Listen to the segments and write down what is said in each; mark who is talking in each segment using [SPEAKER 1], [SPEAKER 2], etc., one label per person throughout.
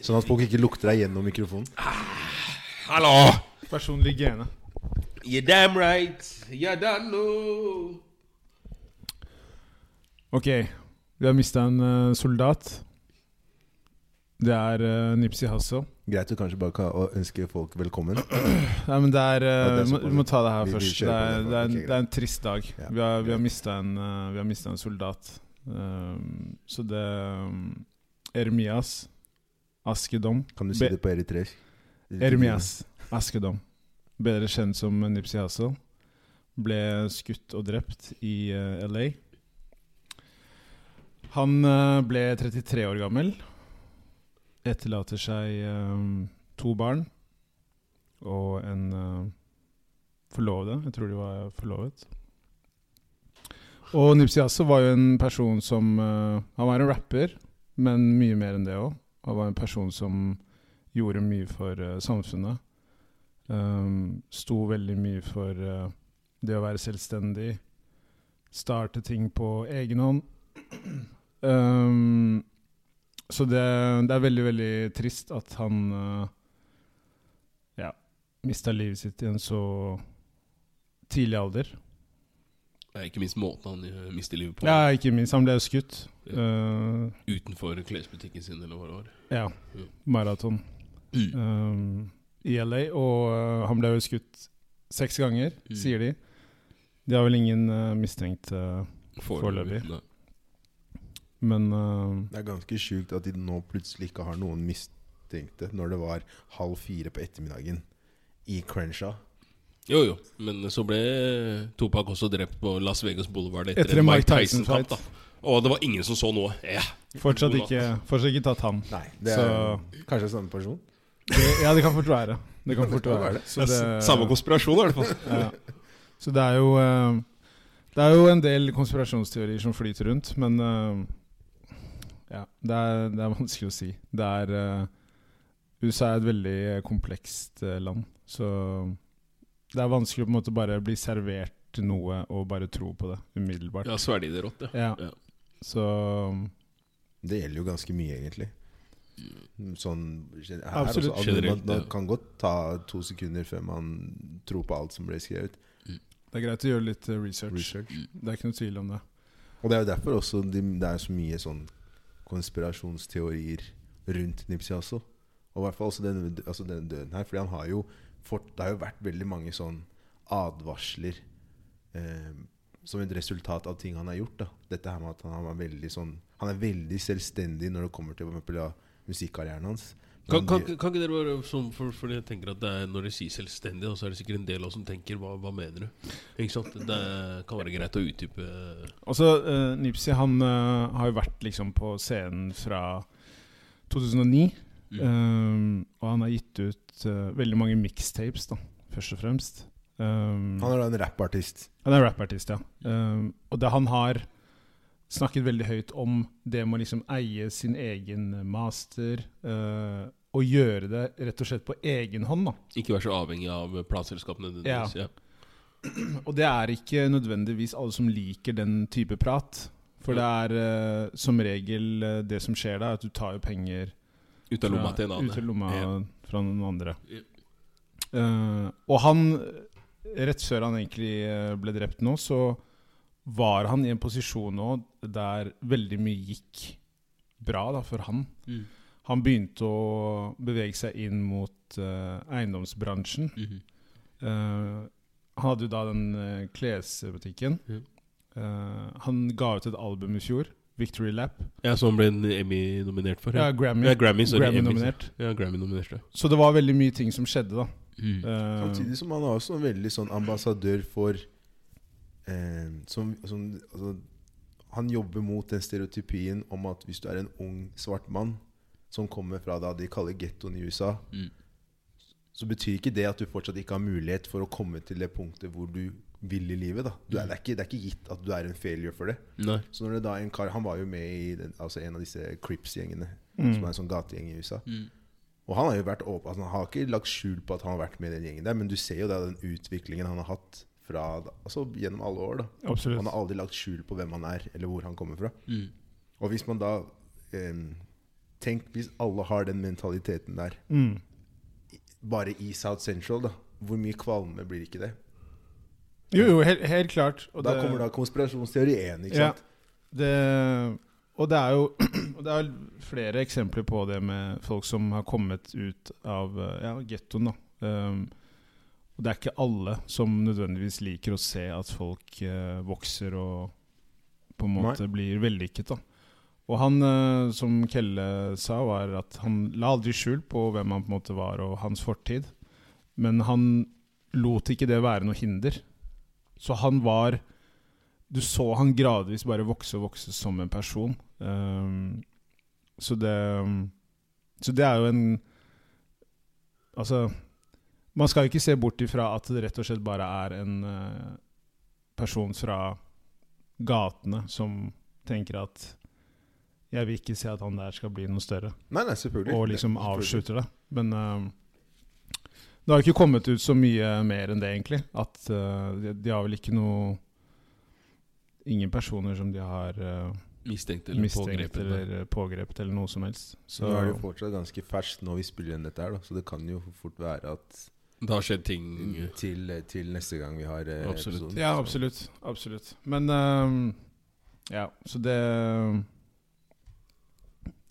[SPEAKER 1] Sånn at folk ikke lukter deg gjennom mikrofonen.
[SPEAKER 2] Hallo!
[SPEAKER 3] Personlig hygiene.
[SPEAKER 2] You damn right. You don't know.
[SPEAKER 3] Ok, vi har mista en eh, soldat. Det er eh, Nipsey Hussle.
[SPEAKER 1] Greit å kanskje bare ka- å ønske folk velkommen.
[SPEAKER 3] Nei, men det er, eh,
[SPEAKER 1] Ja, det er
[SPEAKER 3] vi må-
[SPEAKER 1] såpass.
[SPEAKER 3] Vi må ta det her
[SPEAKER 1] Vi- vi
[SPEAKER 3] først.
[SPEAKER 1] kjører
[SPEAKER 3] Det
[SPEAKER 1] på
[SPEAKER 3] er,
[SPEAKER 1] det.
[SPEAKER 3] det, er en,
[SPEAKER 1] Ok, greit.
[SPEAKER 3] det er en trist dag.
[SPEAKER 1] Ja,
[SPEAKER 3] Vi har, vi har
[SPEAKER 1] greit.
[SPEAKER 3] mista en, eh, vi har mistet en soldat. Um, så det um, Ermias Askedom.
[SPEAKER 1] Kan du si
[SPEAKER 3] Be-
[SPEAKER 1] det på eritreisk?
[SPEAKER 3] Ermias Askedom, bedre kjent som Nipsey Hussle, ble skutt og drept i eh, LA. Han eh, ble 33 år gammel, etterlater seg eh, to barn og en eh, forlovede. Jeg tror de var forlovet. Og Nipsey Hussle var jo en person som eh, Han var en rapper, men mye mer enn det òg. Han var en person som gjorde mye for eh, samfunnet. Um, sto veldig mye for eh, det å være selvstendig. Starte ting på egen hånd. um, så det, det er veldig, veldig trist at han eh, ja, mista livet sitt i en så tidlig alder.
[SPEAKER 2] Det er ikke minst måten han eh, mister livet på.
[SPEAKER 3] Ja, ikke minst. Han ble skutt. Eh,
[SPEAKER 2] Utenfor klesbutikken sin eller hva det var.
[SPEAKER 3] ja. Maraton.
[SPEAKER 2] Mm.
[SPEAKER 3] um, i LA, og uh, han ble jo skutt seks ganger,
[SPEAKER 2] Mm.
[SPEAKER 3] sier de. De har vel ingen uh, mistenkt, uh, Foreløpig.
[SPEAKER 2] Nei.
[SPEAKER 3] men uh,
[SPEAKER 1] Det er ganske sjukt at de nå plutselig ikke har noen mistenkte når det var halv fire på ettermiddagen i Crenshaw.
[SPEAKER 2] Jo, jo. Men så ble Topak også drept på Las Vegas Boulevard etter,
[SPEAKER 3] Etter
[SPEAKER 2] en
[SPEAKER 3] en
[SPEAKER 2] Mike
[SPEAKER 3] Mike Tyson
[SPEAKER 2] Tyson-kamp. da. Og det var ingen som så noe. Ja.
[SPEAKER 3] fortsatt,
[SPEAKER 2] God natt.
[SPEAKER 3] ikke, fortsatt ikke tatt han.
[SPEAKER 1] Nei, det er
[SPEAKER 3] Så-
[SPEAKER 1] kanskje samme person.
[SPEAKER 3] Det, ja, det kan fort være. Det kan fort
[SPEAKER 1] kan være
[SPEAKER 3] være.
[SPEAKER 1] det.
[SPEAKER 3] Så
[SPEAKER 4] Samme konspirasjon, i hvert fall.
[SPEAKER 3] Ja. Så det er jo eh, Det er jo en del konspirasjonsteorier som flyter rundt, men eh, ja, det er, det er vanskelig å si. Det er eh, USA er et veldig komplekst eh, land, så det er vanskelig å på en måte bare bli servert noe og bare tro på det umiddelbart.
[SPEAKER 2] Ja, svelge det rått, ja.
[SPEAKER 3] Ja. Så eh,
[SPEAKER 1] Det gjelder jo ganske mye, egentlig. Sånn gen- her, altså,
[SPEAKER 3] Absolutt.
[SPEAKER 1] at man,
[SPEAKER 2] Generelt,
[SPEAKER 1] man
[SPEAKER 2] ja.
[SPEAKER 1] kan godt ta to sekunder før man tror på alt som ble skrevet.
[SPEAKER 3] det er greit å gjøre litt eh, research.
[SPEAKER 1] Research.
[SPEAKER 3] Det er ikke noe tvil om det.
[SPEAKER 1] Og det er jo derfor også de, det er så mye sånn konspirasjonsteorier rundt Nipsey også. Og i hvert fall også den, altså den døden her. Fordi han har jo fått Det har jo vært veldig mange sånn advarsler eh, som et resultat av ting han har gjort. da Dette her med at han var veldig sånn Han er veldig selvstendig når det kommer til for eksempel, ja, musikkarrieren hans. Men
[SPEAKER 2] Kan,
[SPEAKER 1] han
[SPEAKER 2] kan,
[SPEAKER 1] gjør-
[SPEAKER 2] ikke- kan ikke dere bare sånn, for, for jeg tenker at det er Når de sier selvstendig, da, så er det sikkert en del av oss som tenker hva, hva mener du? Ikke sant? Det kan være greit å utdype
[SPEAKER 3] Altså, eh, Nipsey han eh, har jo vært liksom på scenen fra 2009.
[SPEAKER 2] Mm.
[SPEAKER 3] eh, og han har gitt ut eh, veldig mange mixtapes, da, først og fremst. Um,
[SPEAKER 1] han er da en rappartist.
[SPEAKER 3] han er rappartist, ja. Um, og det han har snakket veldig høyt om det med å liksom eie sin egen master, eh, og gjøre det rett og slett på egen hånd, da.
[SPEAKER 2] Ikke være så avhengig av plateselskapene. nødvendigvis, Ja.
[SPEAKER 3] Og det er ikke nødvendigvis alle som liker den type prat. For det er eh, som regel eh, det som skjer da, at du tar jo penger
[SPEAKER 2] Ut av lomma til en
[SPEAKER 3] fra-
[SPEAKER 2] annen.
[SPEAKER 3] Ut av lomma
[SPEAKER 2] Ja.
[SPEAKER 3] fra noen andre.
[SPEAKER 2] Ja.
[SPEAKER 3] Eh, og han, rett før han egentlig eh, ble drept nå, så var han i en posisjon nå der veldig mye gikk bra da, for han.
[SPEAKER 2] Mm.
[SPEAKER 3] Han begynte å bevege seg inn mot eh, eiendomsbransjen.
[SPEAKER 2] Mhm.
[SPEAKER 3] Eh, han hadde jo da den eh, klesbutikken.
[SPEAKER 2] Ja.
[SPEAKER 3] Eh, han ga ut et album i fjor, 'Victory Lap'.
[SPEAKER 2] Ja, Som han ble en Emmy nominert for?
[SPEAKER 3] Ja,
[SPEAKER 2] Ja,
[SPEAKER 3] Grammy.
[SPEAKER 2] ja Grammy. sorry, Emmy,
[SPEAKER 3] Grammy-nominert.
[SPEAKER 2] Ja, Grammy-nominert, ja.
[SPEAKER 3] Så det var veldig mye ting som skjedde, da.
[SPEAKER 2] Mm.
[SPEAKER 3] Eh,
[SPEAKER 1] Samtidig som han er også en veldig sånn ambassadør for eh, som, som, altså, Han jobber mot den stereotypien om at hvis du er en ung svart mann som kommer fra da de kaller gettoen i USA,
[SPEAKER 2] Mm.
[SPEAKER 1] så betyr ikke det at du fortsatt ikke har mulighet for å komme til det punktet hvor du vil i livet. da du er, det, er ikke, det er ikke gitt at du er en failure for det.
[SPEAKER 2] Nei.
[SPEAKER 1] Så når det da er en kar Han var jo med i den, altså en av disse Crips-gjengene,
[SPEAKER 3] Mm.
[SPEAKER 1] som er en sånn gategjeng i USA.
[SPEAKER 2] Mm.
[SPEAKER 1] Og han har jo vært åpen, altså han har ikke lagt skjul på at han har vært med i den gjengen der, men du ser jo da den utviklingen han har hatt fra, da- altså gjennom alle år. da. Han
[SPEAKER 3] Eh, Absolutt.
[SPEAKER 1] har aldri lagt skjul på hvem han er, eller hvor han kommer fra.
[SPEAKER 2] Mm.
[SPEAKER 1] Og hvis man da eh, Tenk hvis alle har den mentaliteten der.
[SPEAKER 3] Mm.
[SPEAKER 1] Bare i South Central, da. Hvor mye kvalme blir ikke det?
[SPEAKER 3] Jo, jo, helt, helt klart.
[SPEAKER 1] Og Da kommer da konspirasjonsteori én, ikke
[SPEAKER 3] Ja.
[SPEAKER 1] sant?
[SPEAKER 3] Det, og det er jo og det er flere eksempler på det med folk som har kommet ut av eh, ja, gettoen. da. Um, og det er ikke alle som nødvendigvis liker å se at folk eh, vokser og på en måte blir vellykket. da. Og han, eh, som Kelle sa, var at han la aldri skjul på hvem han på en måte var og hans fortid. Men han lot ikke det være noe hinder. Så han var du så han gradvis bare vokse og vokse som en person. Ehm, så det Så det er jo en Altså Man skal jo ikke se bort ifra at det rett og slett bare er en eh, person fra gatene som tenker at jeg vil ikke se at han der skal bli noe større,
[SPEAKER 1] Nei, nei, selvfølgelig.
[SPEAKER 3] og liksom
[SPEAKER 1] Det- selvfølgelig.
[SPEAKER 3] avslutter det. Men ehm, det har jo ikke kommet ut så mye mer enn det, egentlig. At eh, de, de har vel ikke noe Ingen personer som de har eh,
[SPEAKER 2] Mistenkt eller
[SPEAKER 3] mistenkt
[SPEAKER 2] pågrepet.
[SPEAKER 3] eller pågrepet eller noe som helst.
[SPEAKER 1] Så
[SPEAKER 3] Så
[SPEAKER 1] nå er det jo fortsatt ganske ferskt når vi spiller inn dette her, da. Så det kan jo fort være at
[SPEAKER 2] Det har skjedd ting
[SPEAKER 3] Mm.
[SPEAKER 1] til, til neste gang vi har eh,
[SPEAKER 2] Mm. Absolutt.
[SPEAKER 1] episoden.
[SPEAKER 3] Ja,
[SPEAKER 1] så-
[SPEAKER 3] absolutt. Absolutt. Men ehm, Ja, så det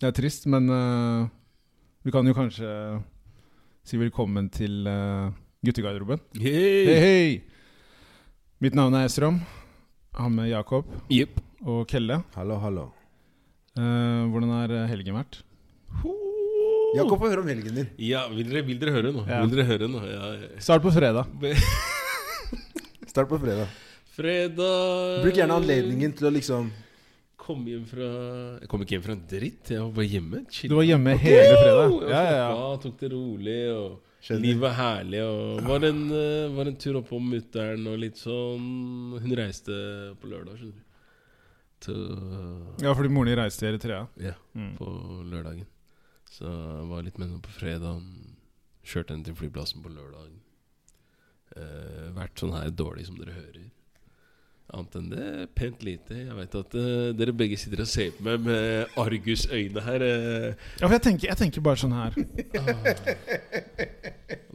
[SPEAKER 3] Det er trist, men eh, vi kan jo kanskje si velkommen til eh, guttegarderoben. Hei,
[SPEAKER 2] Hey!
[SPEAKER 3] hei! Mitt navn er Esrom. Han med Jakob
[SPEAKER 2] Jepp.
[SPEAKER 3] og Kelle.
[SPEAKER 1] Hallo, hallo.
[SPEAKER 3] Eh, hvordan har helgen vært?
[SPEAKER 1] Jakob, få høre om helgen din.
[SPEAKER 2] Ja, vil dere, vil dere høre nå?
[SPEAKER 3] Ja.
[SPEAKER 2] Vil dere høre nå? Ja.
[SPEAKER 3] Start på fredag.
[SPEAKER 1] Start på fredag.
[SPEAKER 2] Fredag
[SPEAKER 1] Bruk gjerne anledningen til å liksom
[SPEAKER 2] Kom hjem fra Jeg kom ikke hjem fra en dritt. Jeg var bare hjemme.
[SPEAKER 3] Du var hjemme hele fredag?
[SPEAKER 2] Jeg
[SPEAKER 3] Ja, ja, ja.
[SPEAKER 2] slappet av, tok det rolig. Og
[SPEAKER 1] Skjønner.
[SPEAKER 2] Livet er herlig. Og var en, eh, var en tur oppom mutter'n og litt sånn Hun reiste på lørdag, skjønner du. Til, eh,
[SPEAKER 3] ja fordi moren din reiste til Eritrea.
[SPEAKER 2] ja,
[SPEAKER 3] Mm.
[SPEAKER 2] på lørdagen. Så jeg var litt med henne på fredag. Kjørte henne til flyplassen på lørdag. Eh, vært sånn her dårlig som dere hører. Annet enn det, pent lite. Jeg veit at eh, dere begge sitter og ser på meg med argusøyne her. eh.
[SPEAKER 3] Ja, for jeg tenker, jeg tenker bare sånn her.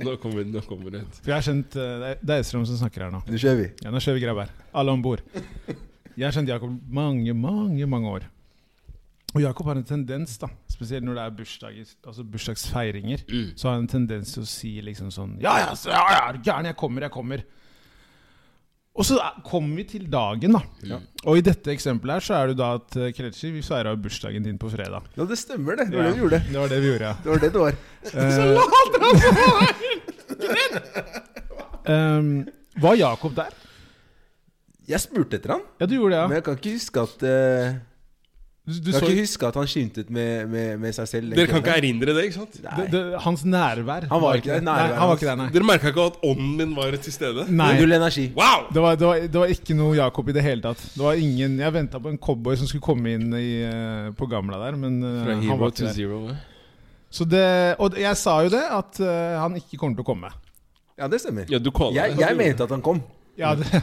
[SPEAKER 2] Nå kommer det, nå kommer det.
[SPEAKER 3] For jeg har kjent eh, Det er- det er Esrom som snakker her nå.
[SPEAKER 1] Nå kjører vi.
[SPEAKER 3] Ja, nå kjører vi grabber. Alle om bord. Jeg har kjent Jakob mange, mange mange år. Og Jakob har en tendens, da spesielt når det er bursdager, altså bursdagsfeiringer,
[SPEAKER 2] Mm.
[SPEAKER 3] så har han en tendens til å si liksom sånn Ja, ja, så, ja, ja, er du gæren, jeg kommer, jeg kommer. Og så er- kommer vi til dagen, da. Og i dette eksempelet her så er det jo da at eh, Kretschi, vi feira bursdagen din på fredag.
[SPEAKER 1] Ja, det stemmer, det. Det var det vi gjorde.
[SPEAKER 3] Det var det vi gjorde, ja.
[SPEAKER 1] Det var det det var. Eh,
[SPEAKER 3] Ehm, var Jakob der?
[SPEAKER 1] Jeg spurte etter han,
[SPEAKER 3] Ja, du gjorde det,
[SPEAKER 1] men
[SPEAKER 3] ja.
[SPEAKER 1] jeg kan ikke huske at eh,
[SPEAKER 3] Du, du
[SPEAKER 1] Jeg
[SPEAKER 3] så,
[SPEAKER 1] kan ikke huske at han skimtet med, med, med seg selv. den
[SPEAKER 2] Dere kan ikke
[SPEAKER 1] kvelden.
[SPEAKER 2] erindre det, ikke sant?
[SPEAKER 3] det,
[SPEAKER 1] Nei.
[SPEAKER 3] det, hans nærvær.
[SPEAKER 1] var ikke der,
[SPEAKER 3] Nei,
[SPEAKER 1] nærværet
[SPEAKER 3] han var ikke der, nei.
[SPEAKER 2] Dere merka ikke at ånden min var til stede?
[SPEAKER 3] nei.
[SPEAKER 1] Null energi.
[SPEAKER 2] Wow!
[SPEAKER 3] Det var, det, var, det var ikke noe Jakob i det hele tatt. Det var ingen, Jeg venta på en cowboy som skulle komme inn i, eh, på gamla der, men eh,
[SPEAKER 2] Fra
[SPEAKER 3] han
[SPEAKER 2] hero
[SPEAKER 3] var
[SPEAKER 2] to
[SPEAKER 3] ikke der.
[SPEAKER 2] zero. eh.
[SPEAKER 3] Så det, og det- jeg sa jo det, at eh, han ikke kommer til å komme.
[SPEAKER 1] Ja, det stemmer.
[SPEAKER 2] Ja, du kaller
[SPEAKER 1] Jeg,
[SPEAKER 2] det.
[SPEAKER 1] jeg mente at han kom.
[SPEAKER 3] Ja, det,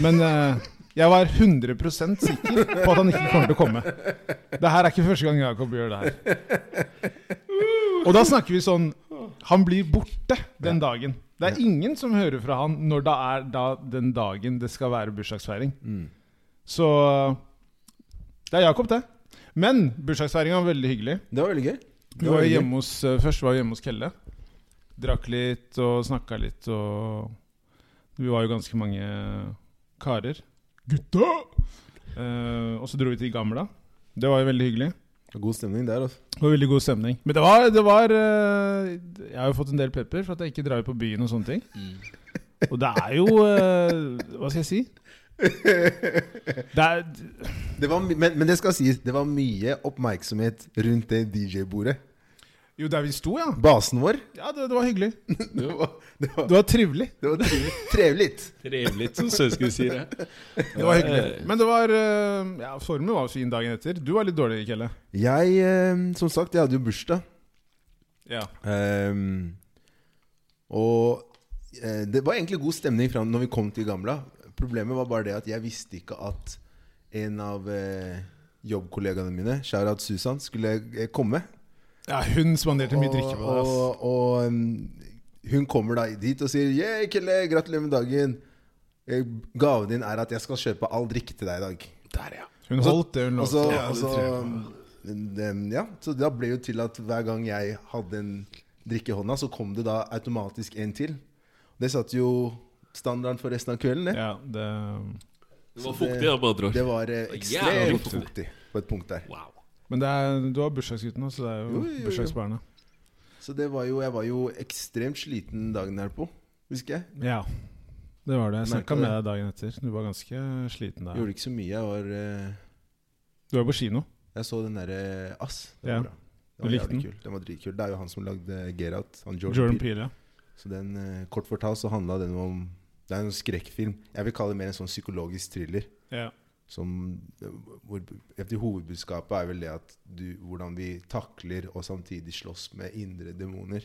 [SPEAKER 3] men eh, jeg var 100 sikker på at han ikke kommer til å komme. Det her er ikke første gang Jakob gjør det her. Og da snakker vi sånn Han blir borte den dagen. Det er ingen som hører fra han når det er da den dagen det skal være bursdagsfeiring. Så eh, det er Jakob, det. Men bursdagsfeiringa var veldig hyggelig.
[SPEAKER 1] Det var veldig gøy.
[SPEAKER 3] Vi
[SPEAKER 1] Det
[SPEAKER 3] var jo
[SPEAKER 1] veldig gøy.
[SPEAKER 3] hjemme hos, eh, først var vi hjemme hos Kelle. Drakk litt og snakka litt og Vi var jo ganske mange karer. Gutta! Eh, og så dro vi til Gamla. Det var jo veldig hyggelig.
[SPEAKER 1] God stemning der, altså.
[SPEAKER 3] Det var veldig god stemning. Men det var, det var eh, Jeg har jo fått en del pepper for at jeg ikke drar på byen og sånne ting. Og det er jo eh, Hva skal jeg si? Det er,
[SPEAKER 1] Det var, my- men, men det skal sies, det var mye oppmerksomhet rundt det DJ-bordet.
[SPEAKER 3] jo, der vi sto, ja.
[SPEAKER 1] Basen vår.
[SPEAKER 3] Ja, det, det var hyggelig.
[SPEAKER 1] Det var, det var,
[SPEAKER 3] Det var trivelig.
[SPEAKER 1] det var trivelig. trevelig.
[SPEAKER 2] Trevelig, som søsken sier. jeg.
[SPEAKER 3] Det var hyggelig. Men det var eh, Ja, formen var fin dagen etter. Du var litt dårlig, Kelle.
[SPEAKER 1] Jeg, eh, som sagt, jeg hadde jo bursdag.
[SPEAKER 3] Ja.
[SPEAKER 1] Ehm, og eh, det var egentlig god stemning fram når vi kom til Gamla. Problemet var bare det at jeg visste ikke at en av eh, jobbkollegaene mine, Sharat Susan, skulle eh, komme.
[SPEAKER 3] Ja, hun spanderte mye drikke på det.
[SPEAKER 1] Og,
[SPEAKER 3] ass.
[SPEAKER 1] og, og um, hun kommer da dit og sier Yeah, Kille, gratulerer med dagen. Eh, Gaven din er at jeg skal kjøpe all drikke til deg i dag. Der, ja.
[SPEAKER 3] Hun
[SPEAKER 1] Og så-
[SPEAKER 3] holdt det hun
[SPEAKER 1] Og så,
[SPEAKER 3] lovte.
[SPEAKER 1] og så, den- ja, så da ble jo til at hver gang jeg hadde en drikke i hånda, så kom det da automatisk en til. Det satte jo standarden for resten av kvelden. Det,
[SPEAKER 3] Ja, det
[SPEAKER 2] Det var
[SPEAKER 1] Så det-
[SPEAKER 2] fuktig, da, med andre
[SPEAKER 1] det
[SPEAKER 2] ord.
[SPEAKER 1] var eh,
[SPEAKER 2] Jævlig
[SPEAKER 1] ekstremt
[SPEAKER 2] fuktig.
[SPEAKER 1] fuktig på et punkt der.
[SPEAKER 2] Wow.
[SPEAKER 3] Men det er, du har bursdagsgutten nå, så det er
[SPEAKER 1] Jo,
[SPEAKER 3] jo,
[SPEAKER 1] jo, jo.
[SPEAKER 3] bursdagsbarnet.
[SPEAKER 1] Så det var jo, jeg var jo ekstremt sliten dagen derpå, husker jeg.
[SPEAKER 3] Ja, det var det. Jeg
[SPEAKER 1] Merket
[SPEAKER 3] snakka med
[SPEAKER 1] det.
[SPEAKER 3] deg dagen etter. Du var ganske
[SPEAKER 1] Jeg
[SPEAKER 3] sliten der.
[SPEAKER 1] gjorde ikke så mye. Jeg var eh,
[SPEAKER 3] Du var på kino.
[SPEAKER 1] Jeg så den derre Ass. Det var
[SPEAKER 3] Ja.
[SPEAKER 1] bra.
[SPEAKER 3] Du
[SPEAKER 1] Den var
[SPEAKER 3] likte
[SPEAKER 1] jævlig
[SPEAKER 3] den?
[SPEAKER 1] kul. Den var dritkul. Det er jo han som lagde Get Out. Han Jordan,
[SPEAKER 3] Jordan
[SPEAKER 1] Peele.
[SPEAKER 3] Peele. ja.
[SPEAKER 1] Så den, eh, kort fortalt så handla den om Det er en skrekkfilm. Jeg vil kalle det mer en sånn psykologisk thriller.
[SPEAKER 3] Ja.
[SPEAKER 1] Som, eh, hvor, etter hovedbudskapet er vel det at du, hvordan vi takler og samtidig slåss med indre demoner.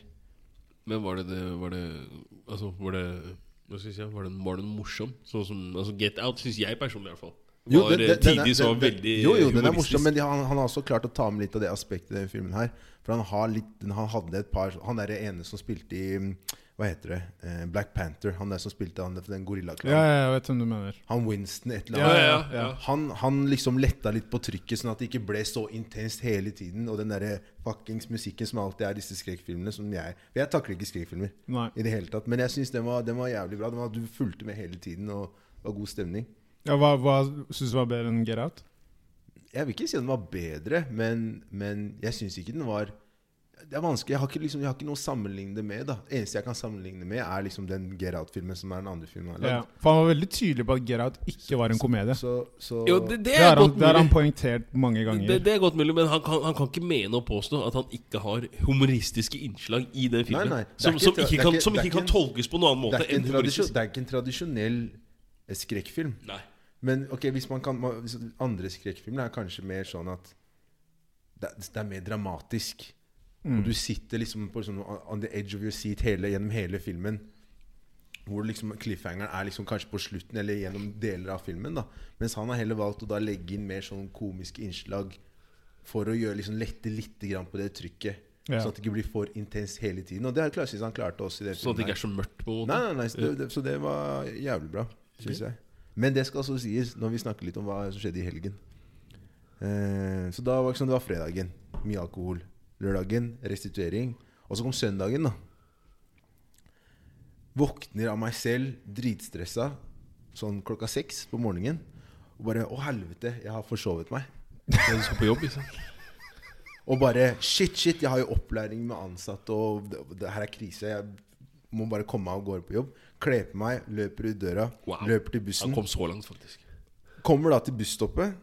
[SPEAKER 2] Men var det det Var det Altså, var det hva skal jeg si, var den, var den morsom? Sånn som altså Get Out syns jeg personlig, i hvert fall.
[SPEAKER 1] Jo,
[SPEAKER 2] Var
[SPEAKER 1] den-
[SPEAKER 2] eh,
[SPEAKER 1] den- den er-
[SPEAKER 2] tidlig så var
[SPEAKER 1] den- den-
[SPEAKER 2] veldig
[SPEAKER 1] Jo, jo, den er
[SPEAKER 2] humoristisk.
[SPEAKER 1] morsom, men de- han, han har også klart å ta med litt av det aspektet i den filmen her. For han har litt den- Han hadde et par Han er det ene som spilte i mm, Hva heter det? Eh, Black Panther. Han der som spilte han den
[SPEAKER 3] Ja,
[SPEAKER 1] gorillaklanen.
[SPEAKER 3] ja, jeg vet hvem du mener.
[SPEAKER 1] Han Winston et eller
[SPEAKER 2] Ja,
[SPEAKER 1] annet.
[SPEAKER 2] ja, ja.
[SPEAKER 3] Ja.
[SPEAKER 1] Han, han liksom letta litt på trykket, sånn at det ikke ble så intenst hele tiden. Og den derre fuckings musikken som alltid er i disse skrekkfilmene som jeg Jeg takler ikke skrekkfilmer
[SPEAKER 3] Nei.
[SPEAKER 1] i det hele tatt, men jeg syns den, var- den var jævlig bra. Den var, du fulgte med hele tiden, og det var god stemning.
[SPEAKER 3] Ja, hva hva syns du var bedre enn Get Out?
[SPEAKER 1] Jeg vil ikke si den var bedre, men, men jeg syns ikke den var Det er vanskelig. Jeg har ikke, liksom, jeg har ikke noe å sammenligne det med. da eneste jeg kan sammenligne det med, er liksom den Get Out-filmen som er den andre filmen jeg har
[SPEAKER 3] Ja.
[SPEAKER 1] lagd.
[SPEAKER 3] For han var veldig tydelig på at Get Out ikke var en komedie.
[SPEAKER 1] Så, så
[SPEAKER 2] Jo, det, det
[SPEAKER 3] Det
[SPEAKER 2] er
[SPEAKER 3] har han,
[SPEAKER 2] godt
[SPEAKER 3] det har han
[SPEAKER 2] mulig.
[SPEAKER 3] poengtert mange
[SPEAKER 2] Det,
[SPEAKER 3] ganger.
[SPEAKER 2] det er godt mulig, men han kan, han kan ikke mene og påstå at han ikke har humoristiske innslag i den filmen.
[SPEAKER 1] Nei, nei, det er
[SPEAKER 2] som,
[SPEAKER 1] ikke
[SPEAKER 2] som
[SPEAKER 1] tra- det
[SPEAKER 2] ikke
[SPEAKER 1] er
[SPEAKER 2] kan,
[SPEAKER 1] ikke-
[SPEAKER 2] som
[SPEAKER 1] det er
[SPEAKER 2] ikke kan
[SPEAKER 1] ikke en-
[SPEAKER 2] tolkes på noen annen
[SPEAKER 1] det,
[SPEAKER 2] måte
[SPEAKER 1] er ikke en
[SPEAKER 2] enn
[SPEAKER 1] tradisjon-
[SPEAKER 2] humoristisk.
[SPEAKER 1] det er ikke en tradisjonell eh, skrekkfilm.
[SPEAKER 2] Nei.
[SPEAKER 1] Men ok, hvis man kan man- hvis andre skrekkfilmer er kanskje mer sånn at det, det er mer dramatisk. Og du sitter liksom på sånn on the edge of your seat hele, gjennom hele filmen. Hvor liksom cliffhangeren er liksom kanskje på slutten eller gjennom deler av filmen. da Mens han har heller valgt å da legge inn mer sånn komiske innslag for å gjøre liksom lette litt grann på det trykket.
[SPEAKER 3] Ja.
[SPEAKER 1] Sånn at det ikke blir for intenst hele tiden. Og det har jeg klart- synes han klarte også i det
[SPEAKER 2] Sånn at det
[SPEAKER 1] filmen her.
[SPEAKER 2] ikke er så mørkt, på en måte.
[SPEAKER 1] Nei, nei, nei så, det, det, så det var jævlig bra, syns jeg. Men det skal også sies, når vi snakker litt om hva som skjedde i helgen. Eh, så da var det sånn, det var fredagen. Mye alkohol. Lørdagen, restituering. Og så kom søndagen, da. Våkner av meg selv, dritstressa, sånn klokka seks på morgenen. Og bare Å, helvete, jeg har forsovet meg.
[SPEAKER 2] Når du skal på jobb, liksom.
[SPEAKER 1] Og bare Shit, shit, jeg har jo opplæring med ansatte, og det, det her er krise. Jeg må bare komme meg av gårde på jobb. Kle på meg, løper ut døra,
[SPEAKER 2] Wow.
[SPEAKER 1] løper til
[SPEAKER 2] Han
[SPEAKER 1] bussen.
[SPEAKER 2] kom så langt, faktisk.
[SPEAKER 1] Kommer da til busstoppet,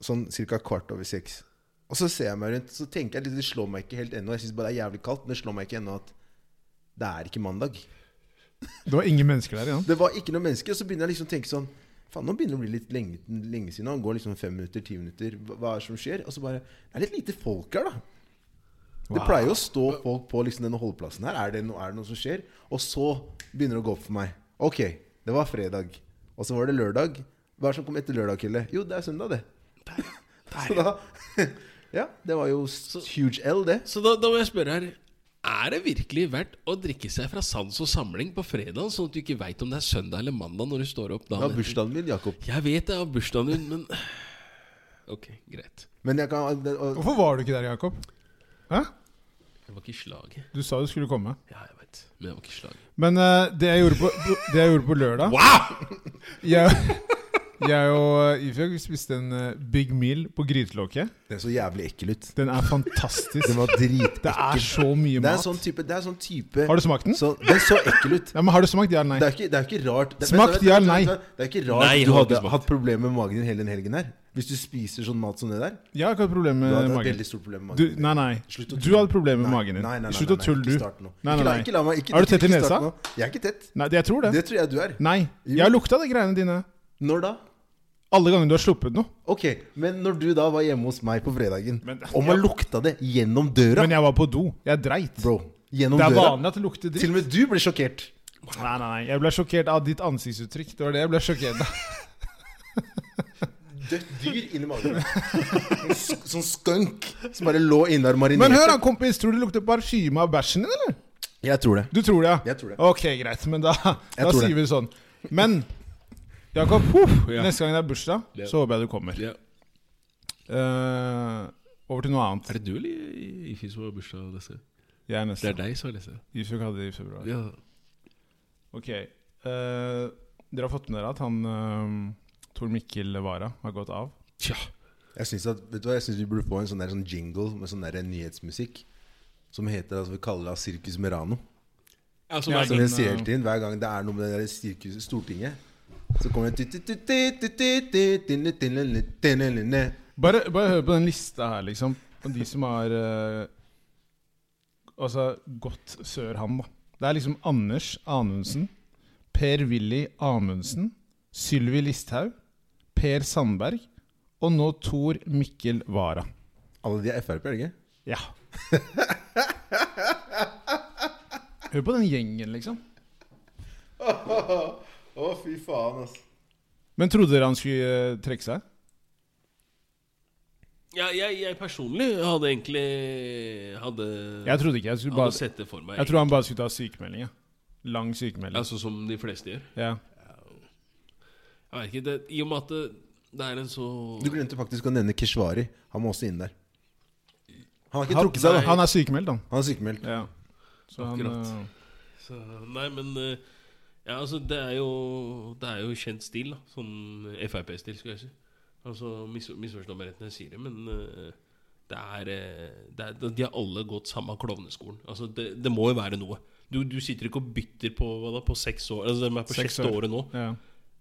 [SPEAKER 1] sånn ca. kvart over seks. Og så ser jeg meg rundt, så tenker jeg litt, det slår meg ikke helt ennå. Jeg syns bare det er jævlig kaldt, men det slår meg ikke ennå at det er ikke mandag.
[SPEAKER 3] Det var ingen mennesker der igjen.
[SPEAKER 1] Det var ikke noe menneske, og så begynner jeg liksom å tenke sånn Faen, nå begynner det å bli litt lenge, lenge siden. Han går liksom fem minutter, ti minutter. Hva, hva er det som skjer? Og så bare Det er litt lite folk her, da. Det pleier jo å stå folk på liksom denne holdeplassen her. Er det, noe, er det noe som skjer? Og så begynner det å gå opp for meg. Ok, det var fredag. Og så var det lørdag. Hva er det som kom etter lørdag, Kille? Jo, det er søndag, det. Så da Ja, det var jo s- huge L, det.
[SPEAKER 2] Så da, da må jeg spørre her Er det virkelig verdt å drikke seg fra sans og samling på fredag, sånn at du ikke veit om det er søndag eller mandag når du står opp
[SPEAKER 1] Det var
[SPEAKER 2] dagen etter?
[SPEAKER 1] bursdagen min, Jakob.
[SPEAKER 2] Jeg vet det er bursdagen din, men Ok, greit.
[SPEAKER 1] Men jeg kan det, og,
[SPEAKER 3] Hvorfor var du ikke der, Jakob? Hæ?
[SPEAKER 2] Jeg var ikke i slaget.
[SPEAKER 3] Du sa du skulle komme.
[SPEAKER 2] Ja, jeg vet. Men jeg var ikke i slaget.
[SPEAKER 3] Men eh, det, jeg gjorde på, det jeg gjorde på lørdag
[SPEAKER 2] Wow!
[SPEAKER 3] Jeg, jeg og Ifjok spiste en eh, Big Meal på grytelokket.
[SPEAKER 1] Den så jævlig ekkel ut.
[SPEAKER 3] Den er fantastisk.
[SPEAKER 1] Den var
[SPEAKER 3] Det er
[SPEAKER 1] dritekkel.
[SPEAKER 3] så mye
[SPEAKER 1] Det er en
[SPEAKER 3] mat.
[SPEAKER 1] sånn type, det er sånn type
[SPEAKER 3] Har du smakt den?
[SPEAKER 1] så, Den så ekkel ut.
[SPEAKER 3] Ja, men Har du smakt ja eller
[SPEAKER 1] Det
[SPEAKER 3] nei?
[SPEAKER 1] er ikke, det er ikke rart det,
[SPEAKER 3] Smak
[SPEAKER 1] vent,
[SPEAKER 3] ja
[SPEAKER 1] vent,
[SPEAKER 3] eller nei?
[SPEAKER 1] vent, vent. Det er ikke rart
[SPEAKER 2] Nei, jeg
[SPEAKER 1] du
[SPEAKER 2] har ikke
[SPEAKER 1] hadde
[SPEAKER 2] smakt.
[SPEAKER 1] hatt problemer med magen din hele den helgen her. Hvis du spiser sånn mat som det der.
[SPEAKER 3] Jeg har ikke hatt problemer
[SPEAKER 1] Du
[SPEAKER 3] med
[SPEAKER 1] hadde et
[SPEAKER 3] Eh, magen.
[SPEAKER 1] veldig stort problem med
[SPEAKER 3] Du,
[SPEAKER 1] magen. din.
[SPEAKER 3] nei, nei.
[SPEAKER 1] Slutt å
[SPEAKER 3] Du
[SPEAKER 1] tulle.
[SPEAKER 3] hadde problemer med
[SPEAKER 1] Nei,
[SPEAKER 3] magen
[SPEAKER 1] nei, nei,
[SPEAKER 3] din.
[SPEAKER 1] nei,
[SPEAKER 3] Slutt
[SPEAKER 1] nei,
[SPEAKER 3] å tulle,
[SPEAKER 1] nei, ikke
[SPEAKER 3] du.
[SPEAKER 1] start nå.
[SPEAKER 3] Nei, nei,
[SPEAKER 1] Ikke la-
[SPEAKER 3] nei.
[SPEAKER 1] ikke la meg- ikke-
[SPEAKER 3] Er du tett i
[SPEAKER 1] ikke start
[SPEAKER 3] nesa?
[SPEAKER 1] nå. Jeg er ikke tett.
[SPEAKER 3] Nei, Jeg tror det.
[SPEAKER 1] Det tror jeg du er.
[SPEAKER 3] Nei.
[SPEAKER 1] Jo.
[SPEAKER 3] Jeg har lukta de greiene dine.
[SPEAKER 1] Når da?
[SPEAKER 3] Alle ganger du har sluppet noe.
[SPEAKER 1] Ok, men når du da var hjemme hos meg på fredagen,
[SPEAKER 3] Men-
[SPEAKER 1] og man lukta det gjennom døra
[SPEAKER 3] Men jeg var på do. Jeg dreit.
[SPEAKER 1] Bro, gjennom
[SPEAKER 3] Det er
[SPEAKER 1] døra.
[SPEAKER 3] vanlig at det lukter
[SPEAKER 1] Til
[SPEAKER 3] dritt.
[SPEAKER 1] og med du ble sjokkert.
[SPEAKER 3] Nei, nei, nei. Jeg ble sjokkert av ditt ansiktsuttrykk. Det var det jeg ble sjokkert av.
[SPEAKER 1] dødt dyr inni magen. Sk- Sånn skunk som bare lå inne og marinerte.
[SPEAKER 3] Men hør da, kompis, tror du det lukter parfyme av bæsjen din, eller?
[SPEAKER 1] Jeg tror det.
[SPEAKER 3] Du tror det, ja?
[SPEAKER 1] Jeg tror det.
[SPEAKER 3] Ok, greit, men da, da
[SPEAKER 1] tror det.
[SPEAKER 3] sier vi sånn. Men Jakob,
[SPEAKER 2] Ja.
[SPEAKER 3] neste gang det er bursdag,
[SPEAKER 2] Ja.
[SPEAKER 3] så håper jeg du kommer.
[SPEAKER 2] Ja.
[SPEAKER 3] Eh, over til noe annet.
[SPEAKER 2] Er det du eller Ifi som har bursdag, Lasse?
[SPEAKER 3] Jeg er
[SPEAKER 2] Det
[SPEAKER 3] neste.
[SPEAKER 2] er deg, sa Lasse.
[SPEAKER 3] Ifjok hadde det i februar.
[SPEAKER 2] Ja.
[SPEAKER 3] Ok. eh, dere har fått med dere at han eh, Tor Mikkel Wara har gått av?
[SPEAKER 2] Tja.
[SPEAKER 1] Jeg syns at, vet du hva, jeg synes vi burde få en sånn, der, sånn jingle med sånn der nyhetsmusikk som heter altså, Vi kaller det Sirkus Merano.
[SPEAKER 2] Altså,
[SPEAKER 3] Ja, eh,
[SPEAKER 2] hver
[SPEAKER 1] Som jeg
[SPEAKER 2] gang-
[SPEAKER 1] sier hele tiden hver gang det er noe med det der sirkuset Stortinget. Så kommer det Det
[SPEAKER 3] Bare, bare hør på den lista her, liksom. Om de som har eh, Altså gått sør ham, da. Det er liksom Anders Anundsen, Per-Willy Amundsen, Sylvi Listhaug, Per Sandberg og nå Tor Mikkel Wara.
[SPEAKER 1] Alle de er Frp, er det ikke?
[SPEAKER 3] Ja. Hør på den gjengen, liksom.
[SPEAKER 1] Å, fy faen, altså.
[SPEAKER 3] Men trodde dere han skulle eh, trekke seg?
[SPEAKER 2] Ja, jeg, jeg personlig hadde egentlig Hadde,
[SPEAKER 3] Jeg trodde ikke. Jeg, skulle
[SPEAKER 2] hadde
[SPEAKER 3] bare,
[SPEAKER 2] sett det for meg.
[SPEAKER 3] jeg tror han bare skulle ta sykemelding. Ja. Lang sykemelding.
[SPEAKER 2] Altså som de fleste gjør.
[SPEAKER 3] Ja.
[SPEAKER 2] Jeg vet ikke, det, I og med at det, det er en så
[SPEAKER 1] Du glemte faktisk å nevne Keshvari. Han må også inn der. Han har ikke
[SPEAKER 3] Han,
[SPEAKER 1] trukket seg, da.
[SPEAKER 3] han er sykemeldt, han.
[SPEAKER 1] Han er sykemeldt.
[SPEAKER 3] Ja. Så han,
[SPEAKER 2] Akkurat.
[SPEAKER 3] eh,
[SPEAKER 2] så, Nei, men eh, Ja, altså, det er jo Det er jo kjent stil, da. Sånn Frp-stil, skal jeg si. Altså, mis, Misforstå meg rett når jeg sier det, men eh, det er, eh, det er De har alle gått samme klovneskolen. Altså, det, det må jo være noe. Du, du sitter ikke og bytter på hva da, på seks år Altså, de er på
[SPEAKER 3] Seks
[SPEAKER 2] sjette
[SPEAKER 3] år.
[SPEAKER 2] året nå.
[SPEAKER 3] ja.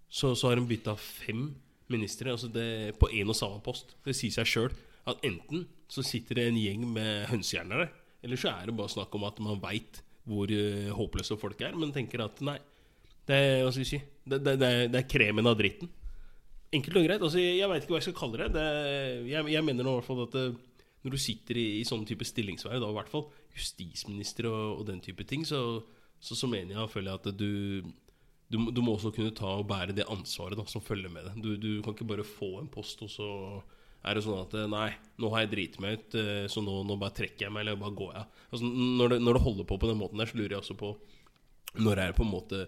[SPEAKER 2] så, så har de bytta fem ministre altså det, på én og samme post. Det sier seg sjøl at enten så sitter det en gjeng med hønsehjerner der, eller så er det bare snakk om at man veit hvor eh, håpløse folk er, men tenker at nei, det er, hva skal vi si, det, det, det, er, det er kremen av dritten. Enkelt og greit. altså Jeg, jeg veit ikke hva jeg skal kalle det. det jeg, jeg mener nå i hvert fall at eh, når du sitter i, i sånn type stillingsverv, da i hvert fall justisminister og, og den type ting, så, så, så mener jeg føler jeg at du du, må- du må også kunne ta og bære det ansvaret da, som følger med det. Du, du kan ikke bare få en post, og så er det sånn at eh, Nei, nå har jeg driti meg ut, eh, så nå, nå bare trekker jeg meg, eller bare går jeg. Altså, når, det, når det holder på på den måten der, så lurer jeg også på Når er det på en måte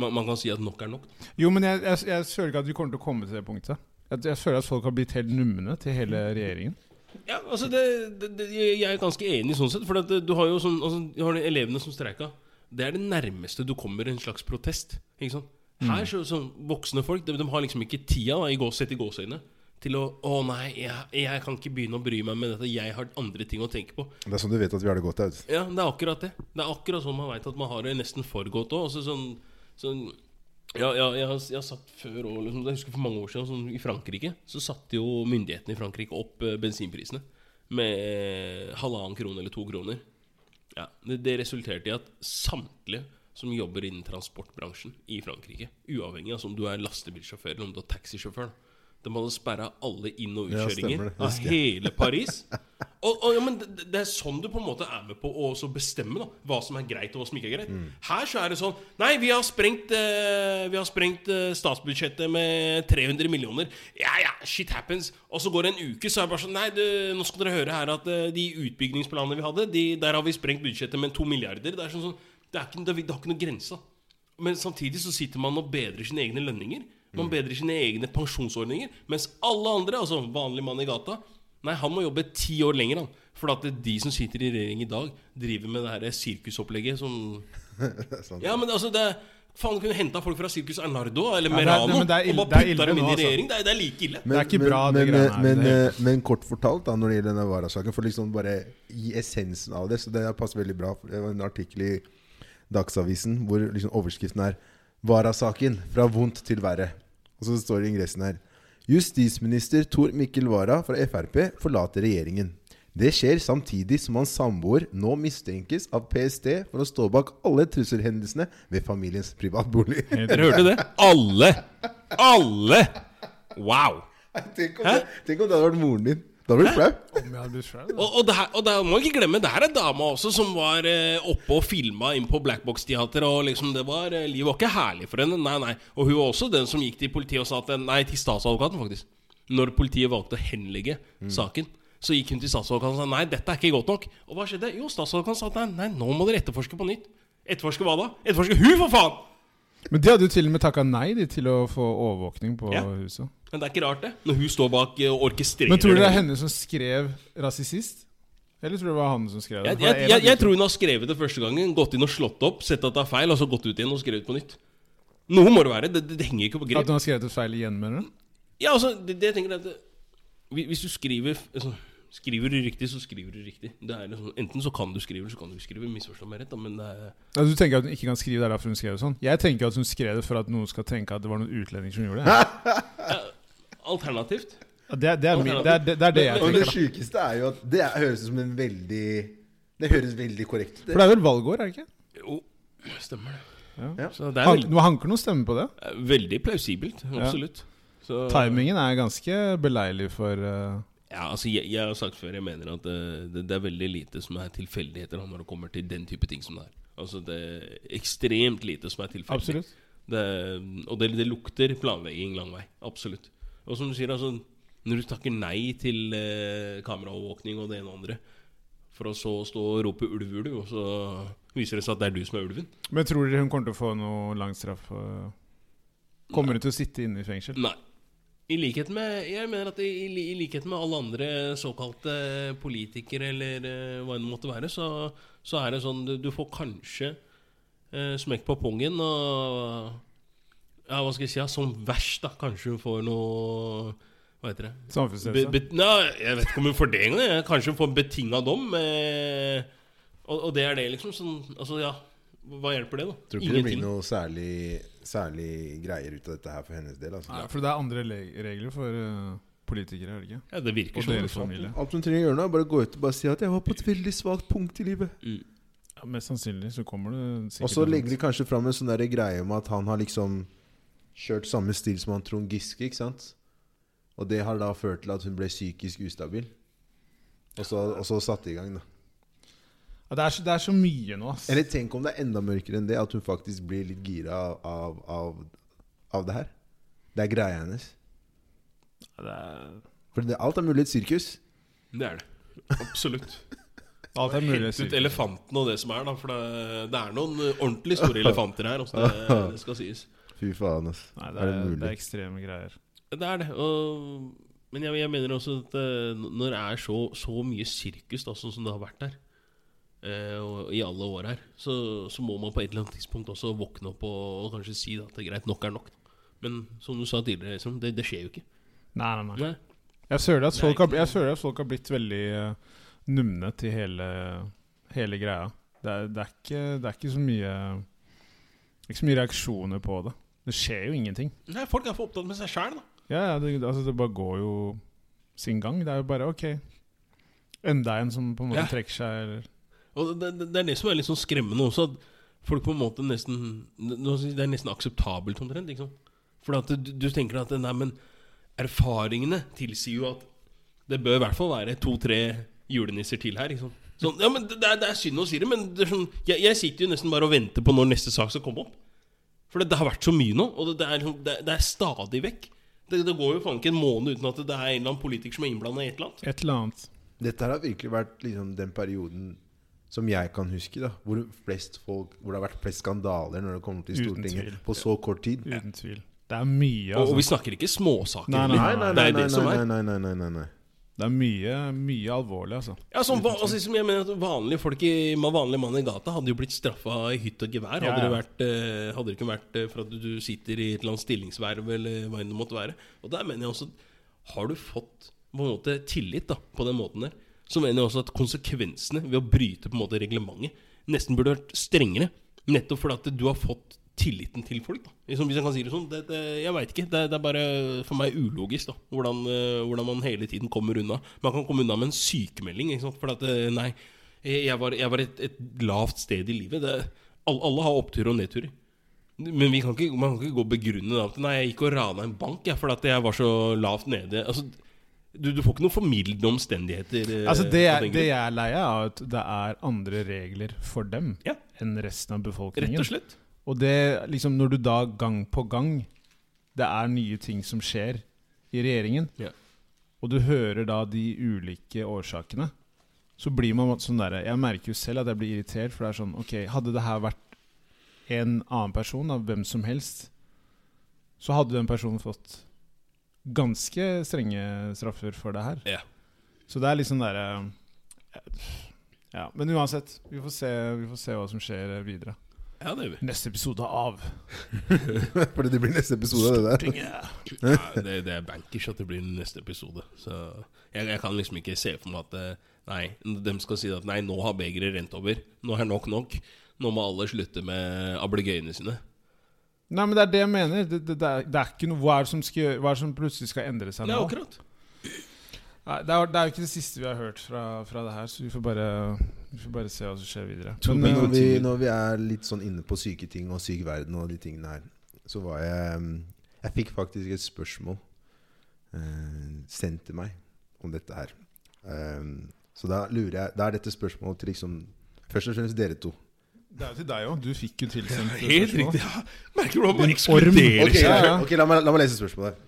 [SPEAKER 2] Man, man kan si at nok er nok. da.
[SPEAKER 3] Jo, men jeg, jeg, jeg føler ikke at vi kommer til å komme til det punktet. Jeg, jeg føler at folk har blitt helt numne til hele regjeringen.
[SPEAKER 2] Ja, altså det, det, det, Jeg er ganske enig sånn sett. For at eh, du har jo sånn altså, Du har de elevene som streika. Det er det nærmeste du kommer en slags protest. Ikke sant? Her så, så Voksne folk de, de har liksom ikke tida da, i gås, sett i gåseøyne til å Å nei, jeg, jeg kan ikke begynne å bry meg med dette. Jeg har andre ting å tenke på.
[SPEAKER 1] Det er sånn du vet at vi har det godt. Aud.
[SPEAKER 2] Ja, det er akkurat det. Det er akkurat sånn man veit at man har det nesten foregått òg. Altså sånn, sånn ja, ja, jeg, har, jeg har satt før òg liksom, Jeg husker for mange år siden sånn, i Frankrike så satte jo myndighetene i Frankrike opp eh, bensinprisene med eh, halvannen krone eller to kroner. Ja, det, det resulterte i at samtlige som jobber innen transportbransjen i Frankrike, uavhengig av altså, om du er lastebilsjåfør eller om du er taxisjåfør, da, de hadde sperra alle inn- og
[SPEAKER 1] Ja, stemmer
[SPEAKER 2] utkjøringer
[SPEAKER 1] det.
[SPEAKER 2] av
[SPEAKER 1] Husker jeg.
[SPEAKER 2] hele Paris. Og, og, ja, men det, det- det er sånn du på en måte er med på å også bestemme da, hva som er greit og hva som ikke er greit.
[SPEAKER 1] Mm.
[SPEAKER 2] Her så er det sånn Nei, vi har sprengt, eh, vi har sprengt eh, statsbudsjettet med 300 millioner. Ja, ja, shit happens. Og så går det en uke, så er det bare sånn Nei, du, nå skal dere høre her at eh, de utbyggingsplanene vi hadde, de, der har vi sprengt budsjettet med to milliarder. Det er sånn, sånn det, er ikke, det, det har ikke noe grense. da. Men samtidig så sitter man og bedrer sine egne lønninger.
[SPEAKER 3] Mm.
[SPEAKER 2] Man bedrer sine egne pensjonsordninger. Mens alle andre, altså vanlig mann i gata, nei, han må jobbe ti år lenger. Han. For at det er de som sitter i regjering i dag, driver med det her sirkusopplegget som
[SPEAKER 1] Det er sant.
[SPEAKER 2] Ja, men altså, det er Faen, kunne henta folk fra Sirkus Arnardo eller
[SPEAKER 3] det er-
[SPEAKER 2] Merano
[SPEAKER 3] men det er ille-
[SPEAKER 2] og
[SPEAKER 3] det
[SPEAKER 2] bare
[SPEAKER 3] er
[SPEAKER 2] putta dem
[SPEAKER 3] ille
[SPEAKER 2] inn
[SPEAKER 3] nå,
[SPEAKER 2] i
[SPEAKER 3] altså.
[SPEAKER 2] regjering. Det er, det er like ille.
[SPEAKER 1] Men,
[SPEAKER 3] Det er ikke bra, det
[SPEAKER 1] men, men,
[SPEAKER 3] greiene her,
[SPEAKER 1] men,
[SPEAKER 3] det er
[SPEAKER 1] eh, men kort fortalt, da, når det gjelder denne Wara-saken For liksom bare i essensen av det, så det passer veldig bra. for Det var en artikkel i Dagsavisen hvor liksom overskriften er 'Wara-saken fra vondt til verre'. Og så står det i ingressen her Justisminister Tor Mikkel Wara fra Frp forlater regjeringen. Det skjer samtidig som hans samboer nå mistenkes av PST for å stå bak alle trusselhendelsene ved familiens privatbolig.
[SPEAKER 2] Dere hørte det? Alle! Alle! Wow!
[SPEAKER 1] tenk, om det, tenk om det hadde vært moren din. Da blir du flau.
[SPEAKER 2] Og, og, det her, og det her må jeg ikke glemme, det her er dama også som var eh, oppe og filma inn på Blackbox Teater. Og liksom det var eh, Livet var ikke herlig for henne. Nei, nei Og hun var også den som gikk til politiet og sa at Nei, til statsadvokaten, faktisk. Når politiet valgte å henlegge
[SPEAKER 3] Mm.
[SPEAKER 2] saken, så gikk hun til statsadvokaten og sa nei, dette er ikke godt nok. Og hva skjedde? Jo, statsadvokaten sa at nei, nei, nå må dere etterforske på nytt. Etterforske hva da? Etterforske hun, for faen!
[SPEAKER 3] Men de hadde jo til og med takka nei de, til å få overvåkning på
[SPEAKER 2] Ja.
[SPEAKER 3] huset.
[SPEAKER 2] Men det er ikke rart, det. Når hun står bak eh, og orkestrerer
[SPEAKER 3] Men tror du det er henne som skrev 'rasist'? Eller tror du det var han som skrev det?
[SPEAKER 2] Jeg, jeg, jeg, jeg tror hun har skrevet det første gangen, gått inn og slått opp, sett at det er feil, og så gått ut igjen og skrevet på nytt. Noe må det være. Det, det, det henger ikke på
[SPEAKER 3] At
[SPEAKER 2] grep.
[SPEAKER 3] hun har skrevet et feil igjen, mener du?
[SPEAKER 2] Ja, altså, det, det jeg tenker er at hvi- Hvis du skriver altså, Skriver du riktig, så skriver du riktig. Det er liksom, enten så kan du skrive, eller så kan du ikke skrive. Misforstå meg rett, da, men det er
[SPEAKER 3] Ja, Altså, du tenker at hun ikke kan skrive det er derfor hun skrev det sånn? Jeg tenker at hun skrev det for at noen skal tenke at det var noen utlendinger som gjorde det.
[SPEAKER 2] alternativt.
[SPEAKER 3] Ja, det, er- det, er, min, det, er, det, er det jeg
[SPEAKER 1] Og det
[SPEAKER 3] tenker. da.
[SPEAKER 1] sjukeste er jo at det er- høres ut som en veldig Det høres veldig korrekt ut.
[SPEAKER 3] For det er vel valgår, er det ikke?
[SPEAKER 2] Jo, stemmer det.
[SPEAKER 3] Ja.
[SPEAKER 2] Så det er
[SPEAKER 3] Han,
[SPEAKER 2] veldig,
[SPEAKER 3] nå hanker noen stemme på det.
[SPEAKER 2] veldig plausibelt. Absolutt. Så-
[SPEAKER 3] Timingen er ganske beleilig for eh,
[SPEAKER 2] Ja, altså jeg, jeg har sagt før, jeg mener at eh, det, det er veldig lite som er tilfeldigheter da, når det kommer til den type ting som det er. Altså det er ekstremt lite som er tilfeldig.
[SPEAKER 3] Absolutt.
[SPEAKER 2] Det, og det, det lukter planlegging lang vei. Absolutt. Og som du sier, altså når du takker nei til eh, kameraovervåkning og det ene og andre, for å så stå og rope 'ulv, ulv', og så viser det seg at det er du som er ulven.
[SPEAKER 3] Men tror dere hun kommer til å få noe lang straff? eh? Kommer hun til å sitte inne i fengsel?
[SPEAKER 2] Nei. I likhet med, jeg mener at i, i, li- i likhet med alle andre såkalte politikere, eller eh, hva det måtte være, så, så er det sånn du, du får kanskje eh, smekk på pungen og Ja, hva skal jeg si? Ja, som verst, da. Kanskje hun får noe Hva heter det? Be,
[SPEAKER 3] Samfunnsledelse?
[SPEAKER 2] be, nei, jeg vet ikke om hun får det engang. jeg. Kanskje hun får en betinga dom. Eh, og, og det er det, liksom. Sånn, altså, ja. Hva hjelper det, da?
[SPEAKER 1] Tror ikke det blir noe særlig, særlig greier ut av dette her for hennes del. Altså.
[SPEAKER 3] Nei, for det er andre le- regler for eh, politikere, er det ikke?
[SPEAKER 2] Ja, det virker
[SPEAKER 3] Og
[SPEAKER 2] sånn.
[SPEAKER 3] deres familie.
[SPEAKER 1] Alt hun trenger å gjøre nå, er bare å gå ut og bare si at 'jeg var på et veldig svakt punkt i livet'.
[SPEAKER 3] Ja, mest sannsynlig så kommer det sikkert
[SPEAKER 1] Og så legger de kanskje fram en sånn der greie om at han har liksom kjørt samme stil som han Trond Giske, ikke sant? Og det har da ført til at hun ble psykisk ustabil. Og så, og så satte i gang, da.
[SPEAKER 3] ja, det, er så, det er så mye nå, ass.
[SPEAKER 1] Eller tenk om det er enda mørkere enn det, at hun faktisk blir litt gira av, av, av, av det her. Det er greia hennes.
[SPEAKER 3] Ja, det er,
[SPEAKER 1] For det, alt er mulig i et sirkus.
[SPEAKER 2] Det er det. Absolutt.
[SPEAKER 3] alt er mulig.
[SPEAKER 2] Helt ut elefanten og det som er, da. For det, det er noen eh, ordentlig store elefanter her, også, det, det skal sies.
[SPEAKER 1] Fy faen, ass.
[SPEAKER 3] Nei, det
[SPEAKER 1] er,
[SPEAKER 3] er,
[SPEAKER 1] det
[SPEAKER 3] det er
[SPEAKER 1] mulig?
[SPEAKER 3] ekstreme greier.
[SPEAKER 2] Det er det. Og, men jeg, jeg mener også at eh, når det er så, så mye sirkus da, sånn som det har vært her, eh, og i alle år her, så, så må man på et eller annet tidspunkt også våkne opp og, og kanskje si da, at det er greit, nok er nok. Men som du sa tidligere, liksom, det, det skjer jo ikke.
[SPEAKER 3] Nei, nei, nei.
[SPEAKER 2] Nei.
[SPEAKER 3] Jeg føler at
[SPEAKER 2] Det er
[SPEAKER 3] folk har,
[SPEAKER 2] ikke-
[SPEAKER 3] jeg føler at folk har blitt veldig eh, numne til hele, hele greia. Det er, det, er ikke, det er ikke så mye Ikke så mye reaksjoner på det. Det skjer jo ingenting.
[SPEAKER 2] Nei, folk er for opptatt med seg sjæl, da.
[SPEAKER 3] Ja, ja, det, altså det bare går jo sin gang. Det er jo bare OK. Enda en som på en måte
[SPEAKER 2] Ja.
[SPEAKER 3] trekker seg, eller
[SPEAKER 2] Og det, det, det er det som er litt sånn skremmende også, at folk på en måte nesten nå skal jeg si, Det er nesten akseptabelt omtrent, liksom. For at du, du tenker at nei, men erfaringene tilsier jo at det bør i hvert fall være to-tre julenisser til her, liksom. Sånn, ja, men det, det er, det er synd å si det, men det er sånn, jeg, jeg sitter jo nesten bare og venter på når neste sak skal komme opp. For det, det har vært så mye nå, og det, det, er, liksom- det, det er stadig vekk. Det, det går jo faen ikke en måned uten at det er en eller annen politiker som er innblanda i et eller annet.
[SPEAKER 3] et eller annet.
[SPEAKER 1] Dette her har virkelig vært liksom, den perioden som jeg kan huske, da. Hvor, flest folk, hvor det har vært flest skandaler når det kommer til
[SPEAKER 3] Uten
[SPEAKER 1] Stortinget
[SPEAKER 3] tvil.
[SPEAKER 1] på så kort tid. Nei,
[SPEAKER 3] Uten tvil. Det er mye,
[SPEAKER 2] Og, og vi
[SPEAKER 3] altså.
[SPEAKER 2] snakker ikke småsaker.
[SPEAKER 3] Nei, nei,
[SPEAKER 1] nei,
[SPEAKER 2] det
[SPEAKER 1] nei,
[SPEAKER 2] er
[SPEAKER 1] nei,
[SPEAKER 2] det som er.
[SPEAKER 1] nei, nei, nei, nei, nei, nei.
[SPEAKER 3] Det er mye, mye alvorlig, altså.
[SPEAKER 2] Ja, som, va- altså, som jeg mener at Vanlige folk i, ma- vanlige mann i gata hadde jo blitt straffa i hytt og gevær. Hadde,
[SPEAKER 3] Ja, ja.
[SPEAKER 2] Det vært, eh, hadde det ikke vært eh, for at du, du sitter i et eller annet stillingsverv eller hva enn det måtte være. Og der mener jeg også at Har du fått på en måte tillit da, på den måten der, så mener jeg også at konsekvensene ved å bryte på en måte reglementet nesten burde vært strengere. Nettopp fordi at du har fått tilliten til folk. da Liksom, Hvis jeg kan si det sånn. Det, det, jeg veit ikke. Det, det er bare for meg ulogisk da hvordan, eh, hvordan man hele tiden kommer unna. Man kan komme unna med en sykemelding. Ikke sant? For at eh, nei, jeg var, jeg var et, et lavt sted i livet. Det, alle, alle har oppturer og nedturer. Men vi kan ikke, man kan ikke gå og begrunne det at Nei, jeg gikk og rana en bank jeg, fordi at jeg var så lavt nede. Altså, du, du får ikke noen formildende omstendigheter. eh,
[SPEAKER 3] Altså det,
[SPEAKER 2] på
[SPEAKER 3] jeg,
[SPEAKER 2] den
[SPEAKER 3] det
[SPEAKER 2] grunn.
[SPEAKER 3] jeg er lei av, er at det er andre regler for dem
[SPEAKER 2] Ja.
[SPEAKER 3] enn resten av befolkningen.
[SPEAKER 2] Rett og slett.
[SPEAKER 3] Og det, liksom, når du da gang på gang Det er nye ting som skjer i regjeringen,
[SPEAKER 2] Ja.
[SPEAKER 3] og du hører da de ulike årsakene, så blir man sånn derre Jeg merker jo selv at jeg blir irritert, for det er sånn Ok, hadde det her vært en annen person, av hvem som helst, så hadde den personen fått ganske strenge straffer for det her.
[SPEAKER 2] Ja.
[SPEAKER 3] Så det er litt sånn derre Ja. Men uansett, vi får, se, vi får se hva som skjer videre.
[SPEAKER 2] Ja, det gjør vi.
[SPEAKER 3] Neste episode av
[SPEAKER 1] Fordi det blir neste episode av det der.
[SPEAKER 3] Stortinget.
[SPEAKER 2] Ja, det, det er bankers at det blir neste episode. Så jeg, jeg kan liksom ikke se for meg at eh, Nei, de skal si at nei, nå har begeret rent over. Nå er nok nok. Nå må alle slutte med ablegøyene sine.
[SPEAKER 3] Nei, men det er det jeg mener. Det, det, det, er, det er ikke noe Hva er det som, skal, gjøre- hva er det som plutselig skal endre seg
[SPEAKER 2] Nei,
[SPEAKER 3] nå?
[SPEAKER 2] akkurat.
[SPEAKER 3] Nei, det, er, det er jo ikke det siste vi har hørt fra, fra det her, så vi får bare, vi får bare se hva som skjer videre.
[SPEAKER 2] To
[SPEAKER 3] Men,
[SPEAKER 1] Men
[SPEAKER 2] big
[SPEAKER 3] eh,
[SPEAKER 1] når vi,
[SPEAKER 2] Continue.
[SPEAKER 1] når vi er litt sånn inne på syke ting og syk verden og de tingene her, så var jeg mm, Jeg fikk faktisk et spørsmål eh, sendt til meg om dette her. Eh, så da lurer jeg Da er dette spørsmålet til liksom Først og fremst dere to.
[SPEAKER 3] det er jo til deg òg. Du fikk jo tilsendt
[SPEAKER 2] Helt
[SPEAKER 3] spørsmål.
[SPEAKER 2] riktig. Ja. Merker du hvordan man
[SPEAKER 3] orm.
[SPEAKER 2] ekskluderer
[SPEAKER 1] Ok,
[SPEAKER 2] seg?
[SPEAKER 3] Ja, ja.
[SPEAKER 1] ok, la, meg, la meg lese spørsmålet.